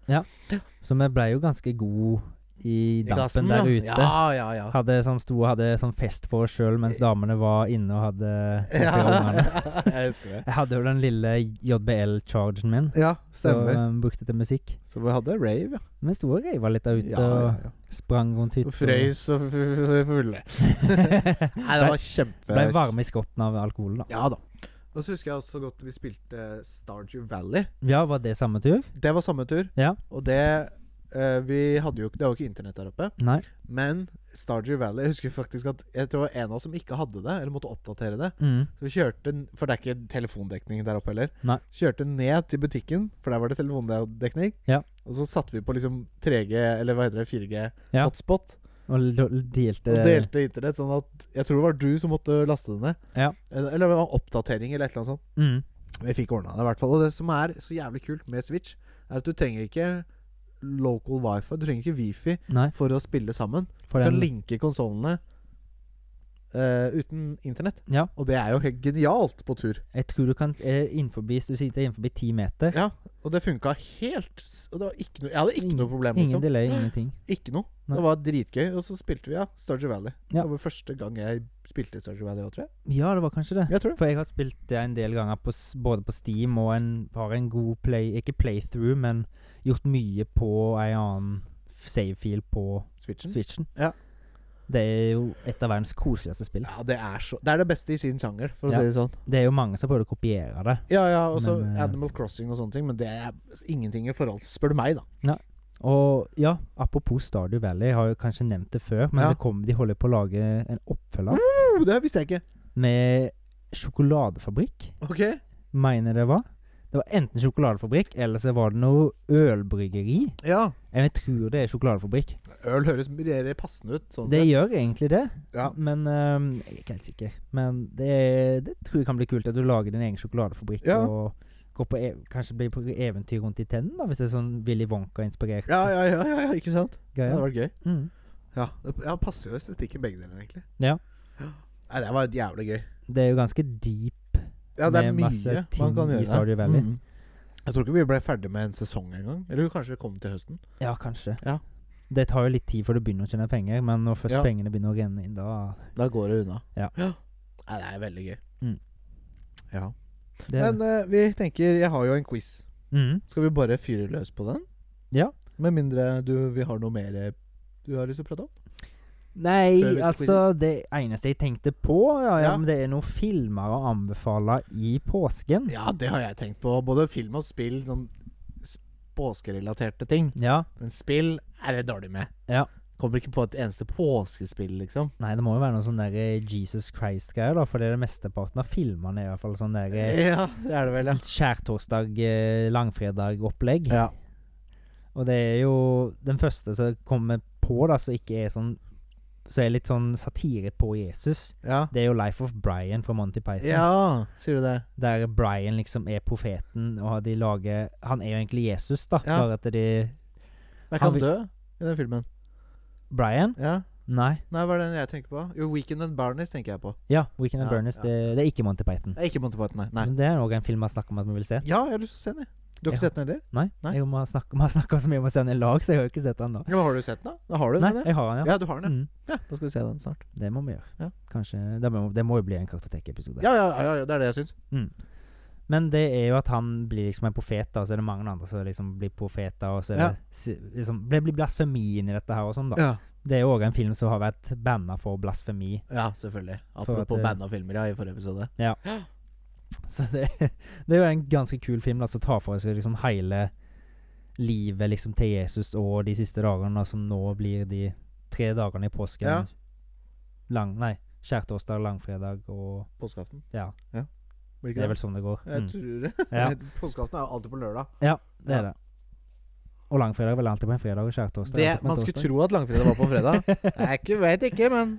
Så vi ble jo ganske gode i I dampen gassen, der ja. ute. Ja, ja, ja. Eh. Hadde sånn sto og hadde sånn fest for oss sjøl mens damene var inne og hadde på seg ungene. ja. Jeg husker det. Jeg hadde jo den lille JBL-chargen min, Ja, som stemmer. jeg brukte til musikk. Så vi hadde rave, ja. Men jeg sto og reiva litt der ute ja, ja, og sprang rundt hytta. ja. Frøys og fulle. Nei, det Ble- var kjempe... Ble varme i skotten av alkoholen, da. Ja da. Og så husker jeg også godt vi spilte eh, Stardew Valley. Ja, var det samme tur? Det var samme tur. Ja. Og det eh, Vi hadde jo ikke Det var jo ikke internett der oppe. Nei. Men Stardew Valley Jeg husker faktisk at Jeg tror det var en av oss som ikke hadde det, eller måtte oppdatere det. Mm. Så vi kjørte n- For det er ikke telefondekning der oppe heller. Nei. Kjørte ned til butikken, for der var det telefondekning. Ja. Og så satte vi på liksom 3G, eller hva heter det, 4G Ja. hotspot. Og l- delte Og delte internett, sånn at Jeg tror det var du som måtte laste det ned. Ja. Eller eller det var oppdatering, eller et eller annet sånt. Mm. Vi fikk ordna det, i hvert fall. Og det som er så jævlig kult med Switch, er at du trenger ikke local wifi, du trenger ikke wifi Nei, for å spille sammen. for Du kan den linke konsollene eh, uten internett. Ja. Og det er jo helt genialt på tur. Jeg tror du kan eh, innenfor, Hvis du sitter innenfor ti meter Ja, Og det funka helt s- Og det var ikke noe Jeg hadde ikke noe problem, Ingen liksom. delay, ingenting. Ikke noe. Nei. Det var dritgøy. Og så spilte vi, ja. Starger Valley. Ja. Det var første gang jeg spilte Starger Valley òg, tror jeg. Ja, det var kanskje det. Jeg tror det. For jeg har spilt det en del ganger på, s- både på Steam og en, har en god play Ikke playthrough, men gjort mye på ei annen f- savefil på Switchen. Switchen. Mm. Ja. Det er jo et av verdens koseligste spill. Ja, det er så Det er det beste i sin sjanger, for å Ja. si det sånn. Det er jo mange som prøver å kopiere det. Ja, ja, og så Men, eh, Animal Crossing og sånne ting, men det er ingenting i forhold til Spør du meg, da. Og ja, apropos Stardew Valley, jeg har jo kanskje nevnt det før, men Ja. det kom, de holder på å lage en oppfølger Oh, det visste jeg ikke. med sjokoladefabrikk, Ok. mener jeg det var. Det var enten sjokoladefabrikk, eller så var det noe ølbryggeri. Ja. Jeg tror det er sjokoladefabrikk. Øl høres mer passende ut. Sånn Det sett. gjør egentlig det, Ja. men ehm, jeg er ikke helt sikker. Men det, det tror jeg kan bli kult, at du lager din egen sjokoladefabrikk Ja. og går på ev kanskje blir på eventyr rundt i tennene, da, hvis det er sånn Willy Wonka-inspirert Ja, ja, ja, ja, ja, ikke sant? Det hadde greie. vært gøy. Mm. Ja, det ja, passer jo estetikken begge deler, egentlig. Ja. Nei, det var jævlig gøy. Det er jo ganske deep Ja, det er Med mye masse ting man kan i gjøre. Stardew Valley. Mhm. Jeg tror ikke vi ble ferdig med en sesong engang. Eller kanskje vi kom til høsten. Ja, kanskje. Ja. Det tar jo litt tid før du begynner å tjene penger, men når først Ja. pengene begynner å renne inn, da Da går det unna. Ja. Nei, det er veldig gøy. Mm. Ja. det, Men eh, vi tenker Jeg har jo en quiz. mm, Skal vi bare fyre løs på den? Ja. Med mindre du, vi har noe mer eh, du har lyst til å prate om? Før vi Nei, tar altså Det eneste jeg tenkte på, ja, ja, Ja. Men det er noen filmer å anbefale i påsken. Ja, det har jeg tenkt på. Både film og spill. Sånn s- påskerelaterte ting. Ja. Men spill er det dårlig med. Ja. Kommer ikke på et eneste påskespill, liksom. Nei, det må jo være noe sånn der eh, Jesus Christ-greier, da. For det er det mesteparten av filmene er i hvert fall sånn der eh, Ja, det er det vel, ja. skjærtorsdag, eh, langfredag-opplegg. ja. Og det er jo den første som kommer på, da, som ikke er sånn Som er litt sånn satire på Jesus. Ja. Det er jo 'Life of Brian' fra Monty Python. ja, sier du det? Der Brian liksom er profeten, og de lager Han er jo egentlig Jesus, da. Ja. Bare at de Men Han kan han vil- dø i den filmen? Brian? Ja. Nei. Nei, hva er den jeg tenker på? Jo, Weekend and Barnies tenker jeg på. Ja, 'Weekend at Ja, Bernies'. ja. Det, det er ikke Monty Python. Nei, ikke Monty Python, nei. nei. Men det er òg en film vi har snakket om at vi vil se. Ja, jeg har lyst til å se den, jeg. Du har ikke Ja. sett den heller? Nei. Nei. Jeg må snakke, vi har snakka så mye om å se den i lag, så jeg har jo ikke sett den da. Ja, men har du sett den, da? Da har du Nei, den, ja. jeg har den, ja. Ja, du har den, ja. Mm, ja. Da skal vi se den snart. det må vi gjøre. Ja. Kanskje Det må, det må jo bli en kartotekepisode. Ja, ja, ja, ja, det er det jeg syns. Men det er jo at han blir liksom en profet, da, og så er det mange andre som liksom blir profeter, og så er Ja. det si- liksom, Det blir blasfemi inni dette her og sånn, da. Ja. Det er jo òg en film som har vært banna for blasfemi. ja, selvfølgelig. For at Apropos det- band og filmer, ja, i forrige episode. Så det, det er jo en ganske kul film da, som tar for seg liksom hele livet liksom, til Jesus og de siste dagene, da, som nå blir de tre dagene i påsken. Ja. Lang, nei, skjærtorsdag, langfredag og Påskeaften. Ja. Blir Det ikke er det? vel sånn det går. Jeg Mm. tror det. Ja, Påskeaften er jo alltid på lørdag. det er det. Og langfredag er vel alltid på en fredag, og skjærtorsdag Det, er alltid på en man skulle torsdag. tro at langfredag var på en fredag. Jeg ikke, vet ikke, men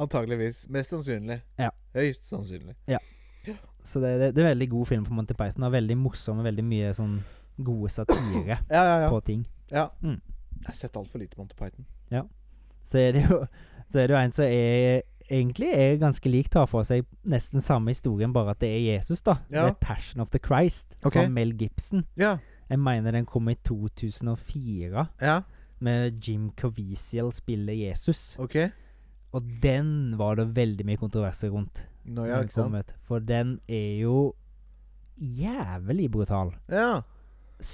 Antakeligvis. Mest sannsynlig. Ja. Høyst sannsynlig. Så det, det, det er en veldig god film på Monty Python. og Veldig morsom og veldig mye sånn gode satire Ja, ja, ja. på ting. ja. Mm. Jeg har sett altfor lite Monty Python. så er det jo så er det jo en som er egentlig er ganske lik, tar for seg nesten samme historien, bare at det er Jesus, da. Ja. Det er 'Passion of the Christ' Ok. fra Mel Gibson. Ja. Jeg mener den kom i 2004, Ja, med Jim Covisiel spiller Jesus. ok. Og den var det veldig mye kontroverser rundt. Nå, når ja, den ikke sant? kom ut, For den er jo jævlig brutal. Ja.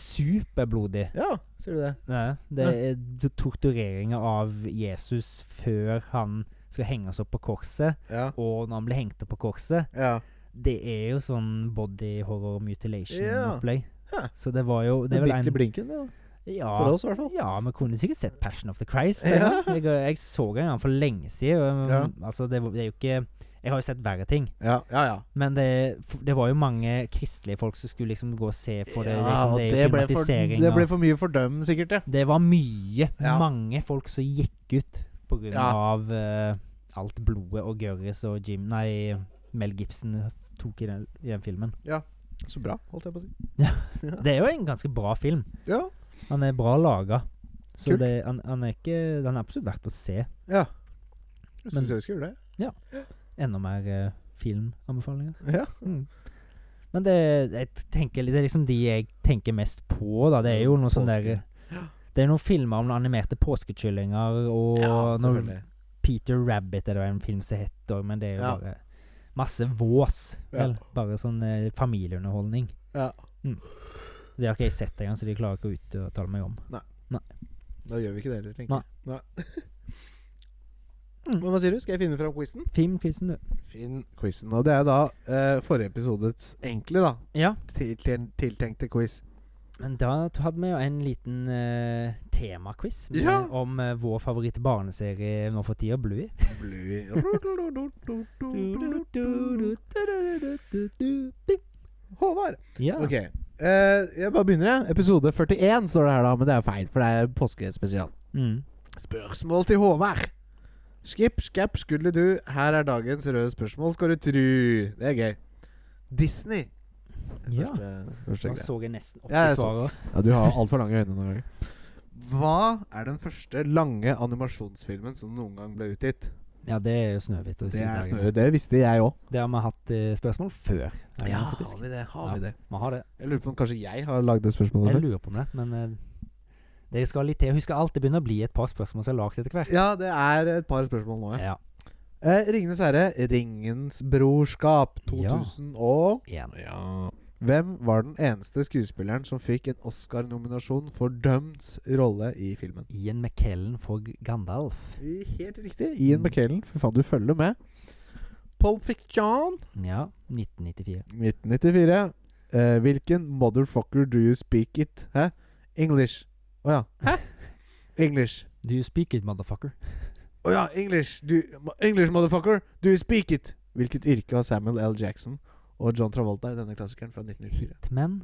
Superblodig. ja, sier du det? Nei, det er to- tortureringer av Jesus før han skal henges opp på korset. Ja. Og når han ble hengt opp på korset Ja. Det er jo sånn body horror Ja. mutilation-opplegg. Hæ. Så det var jo Det Det er vel en i blinken, det. da. ja, For oss, i hvert fall. ja, vi kunne sikkert sett 'Passion of the Christ'. Ja. Jeg, jeg så en gang for lenge siden. og, Ja. Altså, det, var- det er jo ikke Jeg har jo sett verre ting. Ja, ja. ja. Men det, f- det var jo mange kristelige folk som skulle liksom gå og se på det. Ja, liksom, og det er jo ble for- filmatisering. Det ble og- for mye for dem, sikkert, ja. det var mye, Ja. mange folk som gikk ut på grunn Ja. av eh, alt blodet og Gørris og Jim Nei, Mel Gibson tok i den, i den filmen. Så bra, holdt jeg på å si. Det er jo en ganske bra film. Ja. Han er bra laga. Så Kult. det, han, han er ikke Den er absolutt verdt å se. ja. Jeg Men- syns jeg vi skal gjøre det. Enda mer eh, filmanbefalinger. Ja. Mm. Men det, jeg t- tenker, litt- det er liksom de jeg tenker mest på, da. Det er jo noe sånn der Mm. Påske. Det er noen filmer om noen animerte påskekyllinger og noen selvfølgelig. Peter Rabbit er det en film som heter, men det er jo Ja. bare masse vås. Ja. Vel? Bare sånn eh, familieunderholdning. Ja. Mm. Det har ikke jeg sett engang, så de klarer ikke å uttale meg om. Da gjør vi ikke det heller, tenker jeg. Nei. Men hva sier du? Skal jeg finne fram quizen? Filmquizen, du. Finn quizen. Og det er da eh, forrige episodets enkle, da. Ja, Til, til, tiltenkte quiz. men da t- hadde vi jo en liten eh, temaquiz med- Ja. om eh, vår favoritt barneserie nå for tida, Bluey. Bluey. Håvard. Ja. Ok. Eh, jeg bare begynner, jeg. Episode 41 står det her, da. Men det er feil, for det er påskespesial. Mm. Spørsmål til Håvard. Skip, skap, skulle du. Her er dagens røde spørsmål, skal du tru. Det er gøy. Disney. Ja. Første, første Nå greia. så jeg nesten opp Ja, i jeg så- svaret. Ja, du har altfor lange øyne noen ganger. Hva er den første lange animasjonsfilmen som noen gang ble utgitt? Ja, det er jo Snøhvit og Det, er Syvdagen. Snø- det visste jeg òg. Det har vi hatt eh, spørsmål før. er det faktisk. vi det? Ja. det? Vi har det. Jeg lurer på om kanskje jeg har lagd det spørsmålet Jeg før. lurer på om det, men eh, det skal litt til. Husk at alt det begynner å bli et par spørsmål som er lagd etter hvert. Ja, det er et par spørsmål nå, ja. Ja. Eh, Ringenes herre, Ringens brorskap, 2000 og Igjen. ja. Hvem var den eneste skuespilleren som fikk en Oscar-nominasjon for Dømts rolle i filmen? Ian McKellen for G- Gandalf. Helt riktig. Ian McKellen. Fy faen, du følger med. Pulp Fiction. Ja. 1994. 1994. Eh, hvilken motherfucker do you speak it? Hæ? English. Å ja. Hæ? English. Do you speak it, motherfucker? Å ja, English. Do, English motherfucker, do you speak it? Hvilket yrke har Samuel L. Jackson og John Travolta i denne klassikeren fra 1994? Hitman.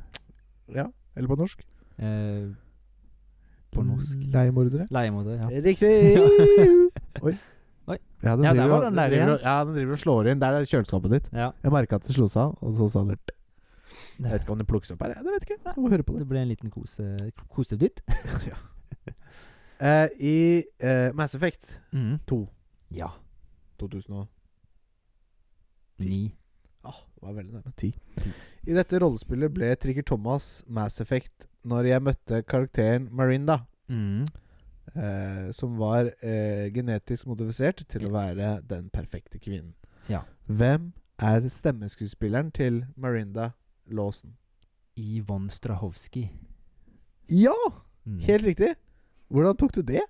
Ja, eller på norsk? Eh, på norsk. Leiemordere. Leiemorder, ja. Riktig! Ja, den Ja, der driver, var og- den der driver, igjen. og- Ja, den driver og slår inn. Der er kjøleskapet ditt. ja. Jeg merka at det slo seg av, og så sa den Jeg Det, vet ikke om det plukkes opp her. Jeg vet ikke. Jeg må høre på det. det ble en liten kose, kosedytt. Eh, I eh, Mass Effect Mm. To. Ja. 2000 og Ni. Åh, det var veldig nærme. Ti. I dette rollespillet ble Trigger Thomas Mass Effect når jeg møtte karakteren Marinda, Mm. eh, som var eh, genetisk modifisert til å være den perfekte kvinnen. Ja. Hvem er stemmeskuespilleren til Marinda Lawson? Yvonne Strahovski. Ja! Mm. Helt riktig! Hvordan tok du det?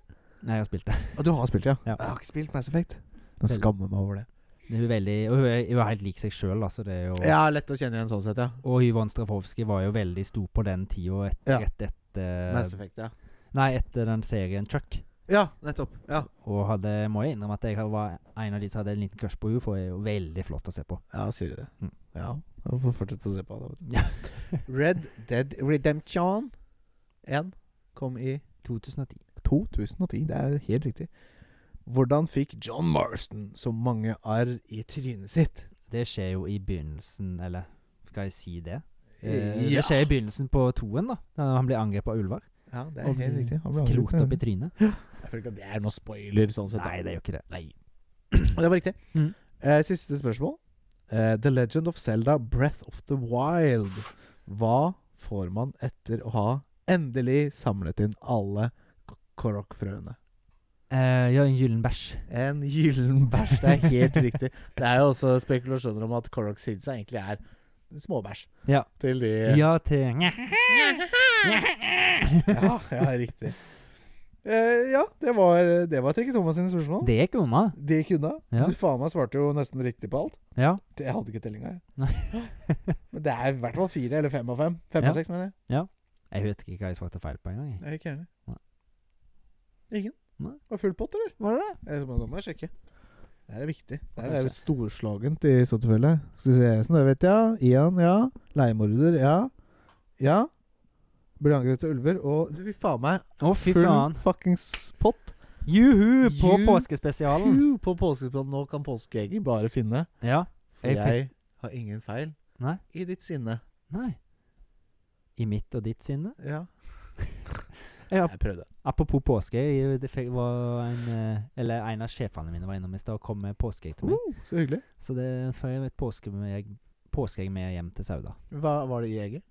Nei, jeg har spilt det. Ah, du har spilt, ja. Ja. Jeg har ikke spilt Mass Effect. Jeg skammer meg over det. Det er jo veldig, og hun er, hun er helt lik seg sjøl, altså. Det er jo, Ja, lett å kjenne igjen sånn sett, ja. Og Yvonne Strafovskij var jo veldig stor på den tida, et, Ja. rett etter Mass Effect, ja. Nei, etter den serien Chuck. Ja, nettopp. Ja, Og hadde, må jeg innrømme at jeg var en av de som hadde en liten crush på henne, for hun er jo veldig flott å se på. ja sier du det. Mm. Ja. Jeg får fortsette å se på det. vet du. Ja. Red Dead Redemption 1 kom i 2010. 2010. Det er helt riktig. Hvordan fikk John Marston så mange arr i trynet sitt? Det skjer jo i begynnelsen, eller skal jeg si det? Eh, Ja. Det skjer i begynnelsen på toen, da. da Han blir angrepet av ulver. Ja, det Og er helt blir riktig. Han ble Klort angrepet. opp i trynet. Jeg føler ikke at det er noe spoiler. sånn sett. da. Nei, det er jo ikke det. Det var riktig. Mm. Eh, siste spørsmål. Eh, the Legend of Zelda Breath of the Wild. Hva får man etter å ha endelig samlet inn alle k- korokfrøene? Eh, ja, en gyllen bæsj. En gyllen bæsj. Det er helt riktig. Det er jo også spekulasjoner om at korok sidsa egentlig er småbæsj. Ja. Til de Ja, til ja, ja, riktig. Eh, ja, det var, det var Trikke Thomas sine spørsmål. Det gikk unna. Det gikk unna. Ja. Du faen meg svarte jo nesten riktig på alt. Ja. Det- Jeg hadde ikke tellinga, Nei. jeg. Men det er i hvert fall fire eller fem av fem. Fem Ja. av seks, mener jeg. Jeg vet ikke hva jeg svarte feil på engang. jeg. Jeg er ikke enig. Nei. Ingen? Nei. Var full pott, eller? Var det det? Jeg må, da må jeg sjekke. Det her er viktig. Det er litt storslagent i så tilfelle. Skal vi se Snøhvit, ja. Ian, ja. Leiemorder, ja. Ja. Blir angrepet av ulver og Du, fy faen meg. Å, fy Full faen. fuckings pott. Juhu på Ju- påskespesialen. Pju, På påskespillet nå kan påskeegger bare finne. Ja. For Jeg jeg, fikk- har ingen feil Nei. i ditt sinne. Nei. I mitt og ditt sinne. Ja. Ja. Jeg prøvde. Apropos påske. jeg- Det fikk- var en, eh, eller en av sjefene mine var innom i stad og kom med påskeegg til meg. Så hyggelig. Oh, Så det får jeg et påskeegg påskeegg med hjem til Sauda. Hva var det i egget?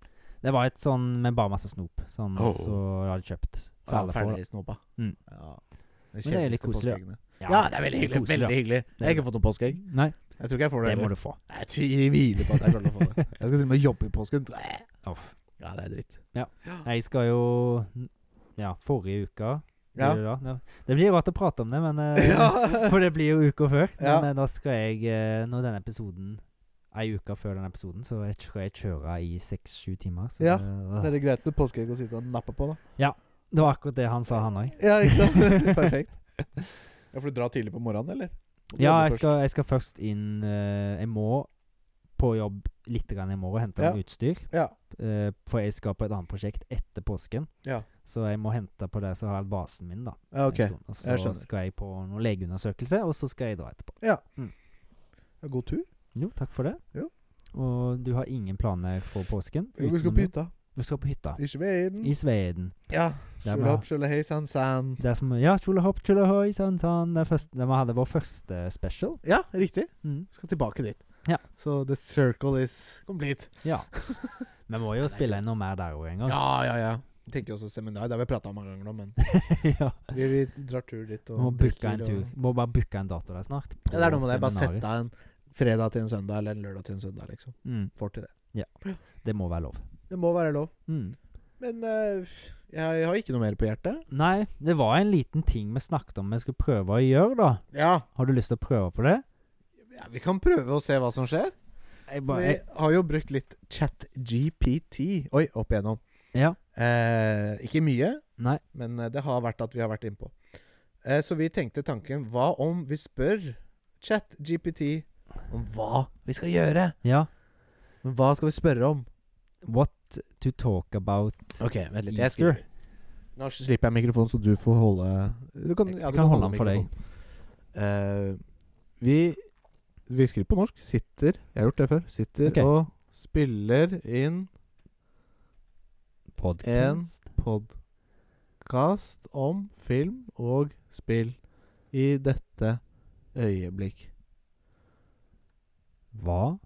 Det var et sånn med bare masse snop, sånn Oh. så jeg hadde kjøpt. Så Ja, alle får det. Ferdigsnopa. Mm. Ja. Men det er litt kjedeligste koselig, ja. påskeeggene. Ja, det er veldig hyggelig. veldig koselig, ja. hyggelig Jeg har ikke fått noe påskeegg. Nei, Jeg tror ikke jeg får det. det må heller. du få. Jeg tviler på at jeg klarer å få det. Jeg skal til og med jobbe i påsken. Uff. Ja, det er dritt. Jeg skal jo Ja, forrige uke Ja. blir det da. Ja. Det blir rart å prate om det, men eh, Ja. For det blir jo uka før. Men Ja. eh, da skal jeg, eh, når denne episoden Ei uke før denne episoden, så jeg skal jeg kjøre i seks-sju timer. Så Ja, Det det, eh, er det greit med påskeegg å sitte og nappe på, da. det var akkurat det han sa, han òg. Ja, ikke sant? Perfekt. Ja, For du drar tidlig på morgenen, eller? Må du Ja, jobbe jeg først? skal, jeg skal først inn eh, Jeg må på jobb litt grann i morgen og hente Ja. utstyr. Ja. eh, for jeg skal på et annet prosjekt etter påsken. Ja. Så jeg må hente på det som har basen min, da. ja, en ok. stund. Og Jeg så skjønner. skal jeg på noen legeundersøkelse, og så skal jeg dra etterpå. Ja, God tur. Jo, takk for det. Jo. Og du har ingen planer for påsken? Vi skal utenom på jobb? hytta. Du skal på hytta. I Sveden. I Sveden. Ja. Der Skjule var- opp, skjule hei, san, san. Det er som Ja, tjolahopp, tjolahoi, sann, sann. Det er første- det vi hadde vår første special. Ja, riktig. Mm. Skal tilbake dit. Ja. Så the circle is complete. Ja. Vi må jo spille inn noe mer der òg en gang. Ja, ja, ja. Jeg tenker også seminar. Det har vi prata om mange ganger nå, men ja. vi, vi drar tur dit. Vi Og må booke en drikker tur. og- Må bare booke en dato der snart. Ja, det er noe med det. Bare seminaret. sette av en fredag til en søndag, eller en lørdag til en søndag, liksom. Mm. Får til det. Det må være lov. Det må være lov. Mm. Men eh, jeg, jeg har ikke noe mer på hjertet. Nei, det var en liten ting vi snakket om vi skulle prøve å gjøre, da. Ja. Har du lyst til å prøve på det? Vi kan prøve å se hva som skjer. Jeg Vi har jo brukt litt chat-GPT Oi, opp igjennom. Ja. Eh, ikke mye, Nei. men eh, det har vært at vi har vært innpå. Eh, så vi tenkte tanken Hva om vi spør chat-GPT om hva vi skal gjøre? Ja. Men hva skal vi spørre om? What to talk about Ok, vent litt. Jeg Easter? skriver. Nå slipper jeg mikrofonen, så du får holde Du kan, Jeg kan holde den for deg. mikrofonen. Eh, vi, vi skriver på norsk. Sitter Jeg har gjort det før. Sitter Ok. og spiller inn Podcast. podkast om film og spill i dette øyeblikk. Hva?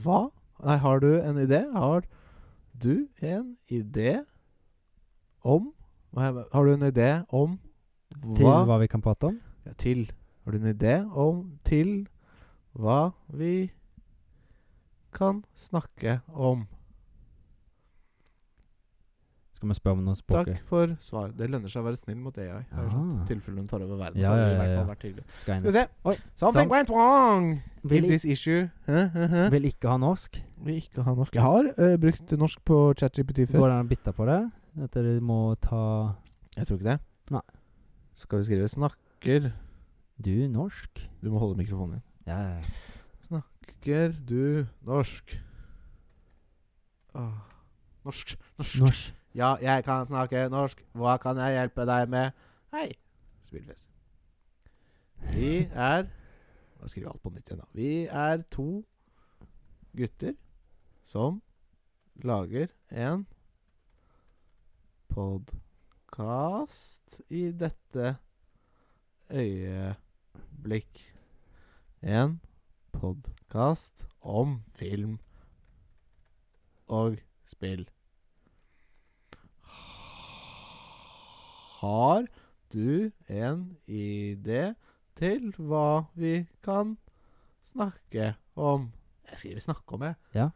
Hva? Nei, har du en idé? Har du en idé om Hva- Har du en idé om Til hva vi kan prate om? Ja, til. Har du en idé om til hva vi kan snakke om? Skal vi spørre om noe Takk språk? for svar. Det lønner seg å være snill mot AI. Det er jo sånn Ah. tilfelle hun tar over verden. Ja, så har ja, det i ja, hvert fall ja. vært tydelig. Skal Skal vi jeg se. Oi, Something Sam went wrong vil, with this issue. Hæ, hæ, hæ? i- vil ikke ha norsk. Vi ikke har norsk. Jeg har eh, brukt norsk på ChatGPT Går før. det an å bytte på det? At dere må ta Jeg tror ikke det. Nei. Skal vi skrive 'snakker' du norsk? Du må holde mikrofonen din. Ja, ja, ja. Snakker du norsk? Åh. Norsk. Norsk. Norsk. Ja, jeg kan snakke norsk. Hva kan jeg hjelpe deg med? Hei. Spillfest. Vi er Da skriver jeg alt på nytt igjen, da. Vi er to gutter som lager en podkast i dette øyeblikk. En podkast om film og spill. Har du en idé til hva vi kan snakke om? Jeg skriver 'snakke om', jeg. Ja.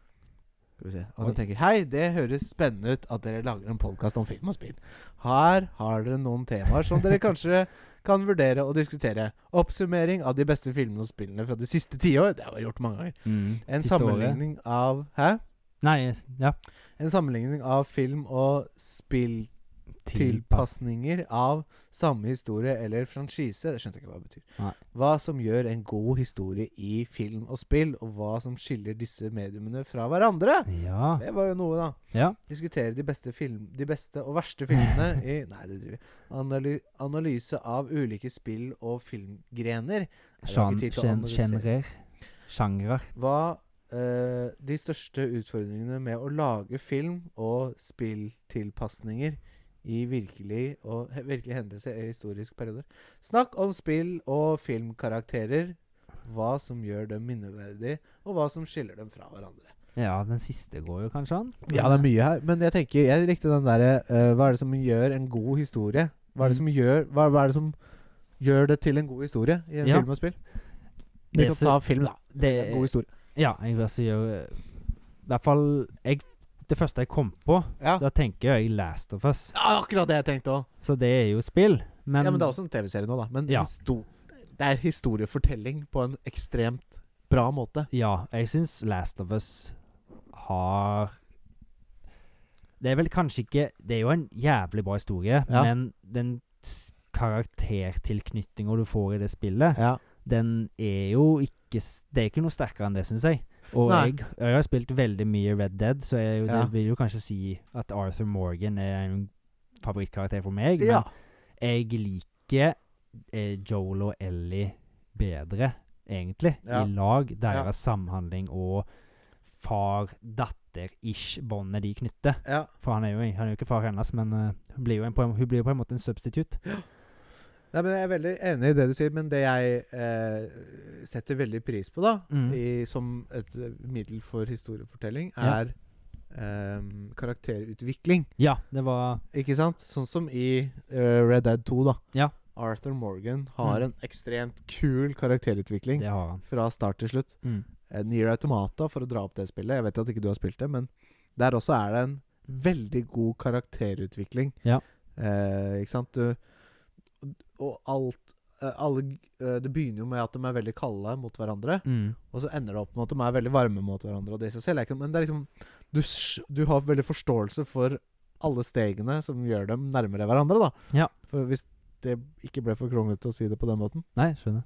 Skal vi se. Oi. Og den tenker 'Hei, det høres spennende ut at dere lager en podkast om film og spill'. Her har dere noen temaer som dere kanskje kan vurdere å diskutere. Oppsummering av de beste filmene og spillene fra de siste tiår. Det har jeg gjort mange ganger. Mm. En Siste året. sammenligning av Hæ? Nei, yes, ja. En sammenligning av film og spill Tilpass. tilpasninger av samme historie eller franchise. Det skjønte jeg ikke hva det betyr. Nei. Hva som gjør en god historie i film og spill, og hva som skiller disse mediumene fra hverandre. Ja. Det var jo noe, da. Ja. Diskutere de beste, film, de beste og verste filmene i Nei, det driver vi. Analy, analyse av ulike spill- og filmgrener. Jeg har ikke Sjan- tid til å sjen- analysere. Sjenrer. Sjangrer. Hva eh, de største utfordringene med å lage film og spilltilpasninger i virkelig og he, virkelige hendelser eller historiske perioder. Snakk om spill og filmkarakterer. Hva som gjør dem minneverdig, og hva som skiller dem fra hverandre. Ja, den siste går jo kanskje an. Ja, det er mye her, men jeg tenker Jeg likte den derre eh, Hva er det som gjør en god historie? Hva er det Mm. som gjør Hva, hva er det som gjør det til en god historie i en Ja. film og spill? Det Vi kan som- ta film, da. det- god historie. Ja, jeg vil si gjør I hvert fall jeg, Det første jeg kom på, Ja. da tenker jeg Last of Us. Ja, akkurat det jeg tenkte òg. Så det er jo spill. Men, ja, men det er også en TV-serie nå, da. Men Ja. histo det er historiefortelling på en ekstremt bra måte. Ja, jeg syns Last of Us har Det er vel kanskje ikke Det er jo en jævlig bra historie, Ja. men den s- karaktertilknytninga du får i det spillet, Ja. den er jo ikke s- Det er ikke noe sterkere enn det, syns jeg. Og Nei. jeg, jeg har spilt veldig mye Red Dead, så jeg, er jo- Ja. det vil jo kanskje si at Arthur Morgan er en favorittkarakter for meg. ja. Men jeg liker eh, Joel og Ellie bedre, egentlig, Ja. i lag. Deres Ja. samhandling og far-datter-ish-båndet de knytter. ja. For han er jo, han er jo ikke far hennes, men eh, hun, blir jo en, på en, hun blir jo på en måte en substitutt. Nei, men Jeg er veldig enig i det du sier, men det jeg eh, setter veldig pris på, da, Mm. i, som et eh, middel for historiefortelling, Ja. er eh, karakterutvikling. Ja, det var Ikke sant? Sånn som i eh, Red Dead 2, da. Ja. Arthur Morgan har Mm. en ekstremt kul karakterutvikling Det har han. fra start til slutt. Mm. eh, Nier Automata for å dra opp det spillet. Jeg vet at ikke du har spilt det, men der også er det en veldig god karakterutvikling. Ja. Eh, ikke sant? Du, og alt eh, alle, g- eh, Det begynner jo med at de er veldig kalde mot hverandre, Mm. og så ender det opp med at de er veldig varme mot hverandre. Og det i seg selv er ikke noe- Men det er liksom du, s- du har veldig forståelse for alle stegene som gjør dem nærmere hverandre, da. Ja. For hvis det ikke ble for kronglete å si det på den måten. Nei, skjønner.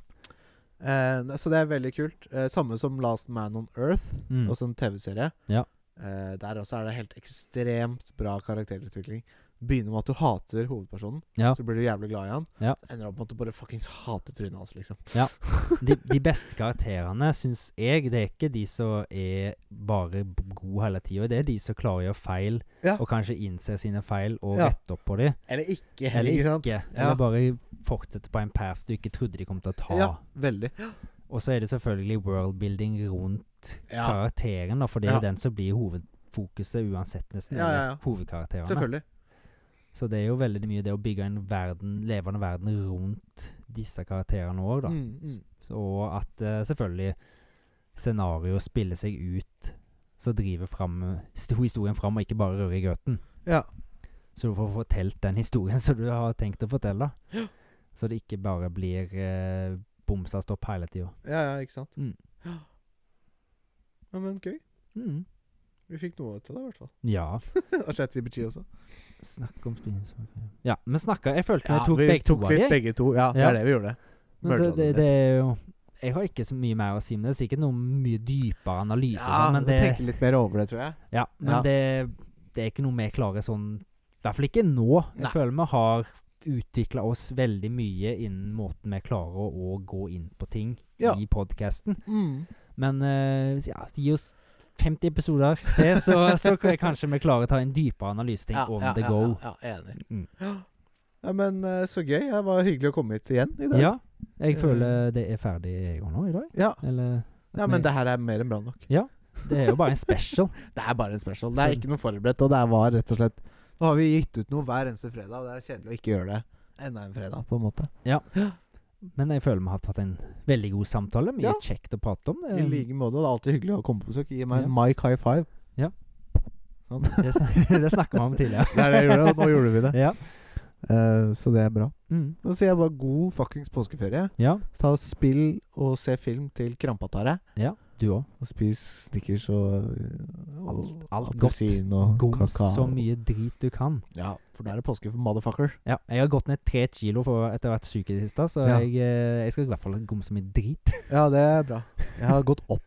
Eh, ne- så det er veldig kult. Eh, samme som Last Man on Earth Mm. sånn også en TV-serie. Ja. Eh, der også er det helt ekstremt bra karakterutvikling. begynner med at du hater hovedpersonen, Ja. så blir du jævlig glad i han. Ja. Ender opp med at du bare fuckings hater trynet hans, liksom. De, de beste karakterene, syns jeg, det er ikke de som er bare b- gode hele tida. Det er de som klarer å gjøre feil, Ja. og kanskje innser sine feil og Ja. rette opp på dem. Eller ikke, Eller ikke sant? ikke. Eller bare fortsette på en path du ikke trodde de kom til å ta. Ja, veldig. Og så er det selvfølgelig worldbuilding rundt Ja. karakteren, da, for det er Ja. jo den som blir hovedfokuset uansett, nesten. Ja, eller ja, ja. Hovedkarakterene. Selvfølgelig. Så det er jo veldig mye det å bygge en verden, levende verden rundt disse karakterene òg, da. Mm, mm. Og at eh, selvfølgelig scenarioet spiller seg ut, så driver fram, sto- historien fram, og ikke bare rører i grøten. Ja. Så du får fortalt den historien som du har tenkt å fortelle. Så det ikke bare blir eh, bomsa stopp hele tida. ja, ja, ikke sant? Mm. Ja, men gøy. Mm. Vi fikk noe til det, i hvert fall. Ja. Og chat IBG også. Snakk om spinningsmaker Ja, vi snakka Jeg følte vi Ja, tok vi begge to tok av litt de. begge to. Ja, det Ja. er det vi gjorde. Men det, merged det, litt. det er jo Jeg har ikke så mye mer å si, men det er sikkert noe mye dypere analyse. og Ja, sånn, men vi det, tenker litt mer over det, tror jeg. Ja, men Ja. Det, det er ikke noe vi klarer sånn I hvert fall ikke nå. Jeg Nei. føler vi har utvikla oss veldig mye innen måten vi klarer å, å gå inn på ting Ja. i podkasten. Mm. Men eh, ja, gi oss 50 episoder til, så, så kan jeg kanskje vi klarer å ta en dypere analyseting on the go. Ja, ja, enig. Mm. Ja, men eh, så gøy. Det var hyggelig å komme hit igjen i Ja, dag. jeg Eh. føler det er ferdig jeg òg nå i dag. Ja. Eller at Ja, men vi- det her er mer enn bra nok. det er jo bare en special. Det er bare en special. Det er Så- ikke noe forberedt, og det er var rett og slett Nå har vi gitt ut noe hver eneste fredag, og det er kjedelig å ikke gjøre det enda en fredag, på en måte. Men jeg føler vi har tatt en veldig god samtale. Mye Ja. kjekt å prate om. I like måte. Det er alltid hyggelig å komme på besøk. Gi meg en mic high five. Eh, Det, snak det snakka vi om tidligere. Det er det jeg gjorde, og nå gjorde vi det. Ja. Eh, så det er bra. Mm. Nå sier jeg bare god fuckings påskeferie. Ja, Ta og Spill og se film til krampa tar deg. ja, du òg. Og spis Snickers og, eh, og Alt- alt appelsin og Goms kakao. så mye drit du kan. Ja, for da er det påske for motherfucker. Ja, jeg har gått ned tre kilo for etter å ha vært syk i det siste, så Ja. jeg, eh, jeg skal i hvert fall gomse mye drit. Ja, det er bra. Jeg har gått opp.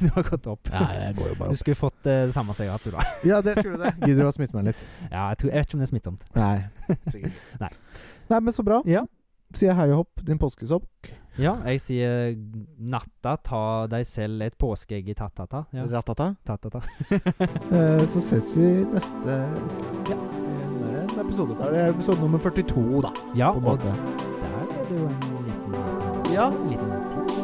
du har gått opp. jeg går jo Du skulle fått eh, det samme som jeg har hatt, du, da. Ja, det skulle det. Gidder du å smitte meg litt? Ja, jeg, tror, jeg vet ikke om det er smittsomt. Nei. Nei. Nei, men så bra. Ja. Sier hei og hopp, din påskesokk. Ja, jeg sier eh, natta, ta deg selv et påskeegg i ta-ta-ta. Ja, Ratata. ta-ta-ta. Eh, så ses vi neste Ja. Det er en episode. Da er det episode nummer 42, da. Ja, På en og måte. der er det jo en liten, Ja. liten tiss.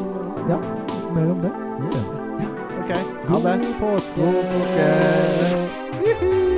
Mer om det. Ja. OK. Ha det. God påske! God påske. Juhu!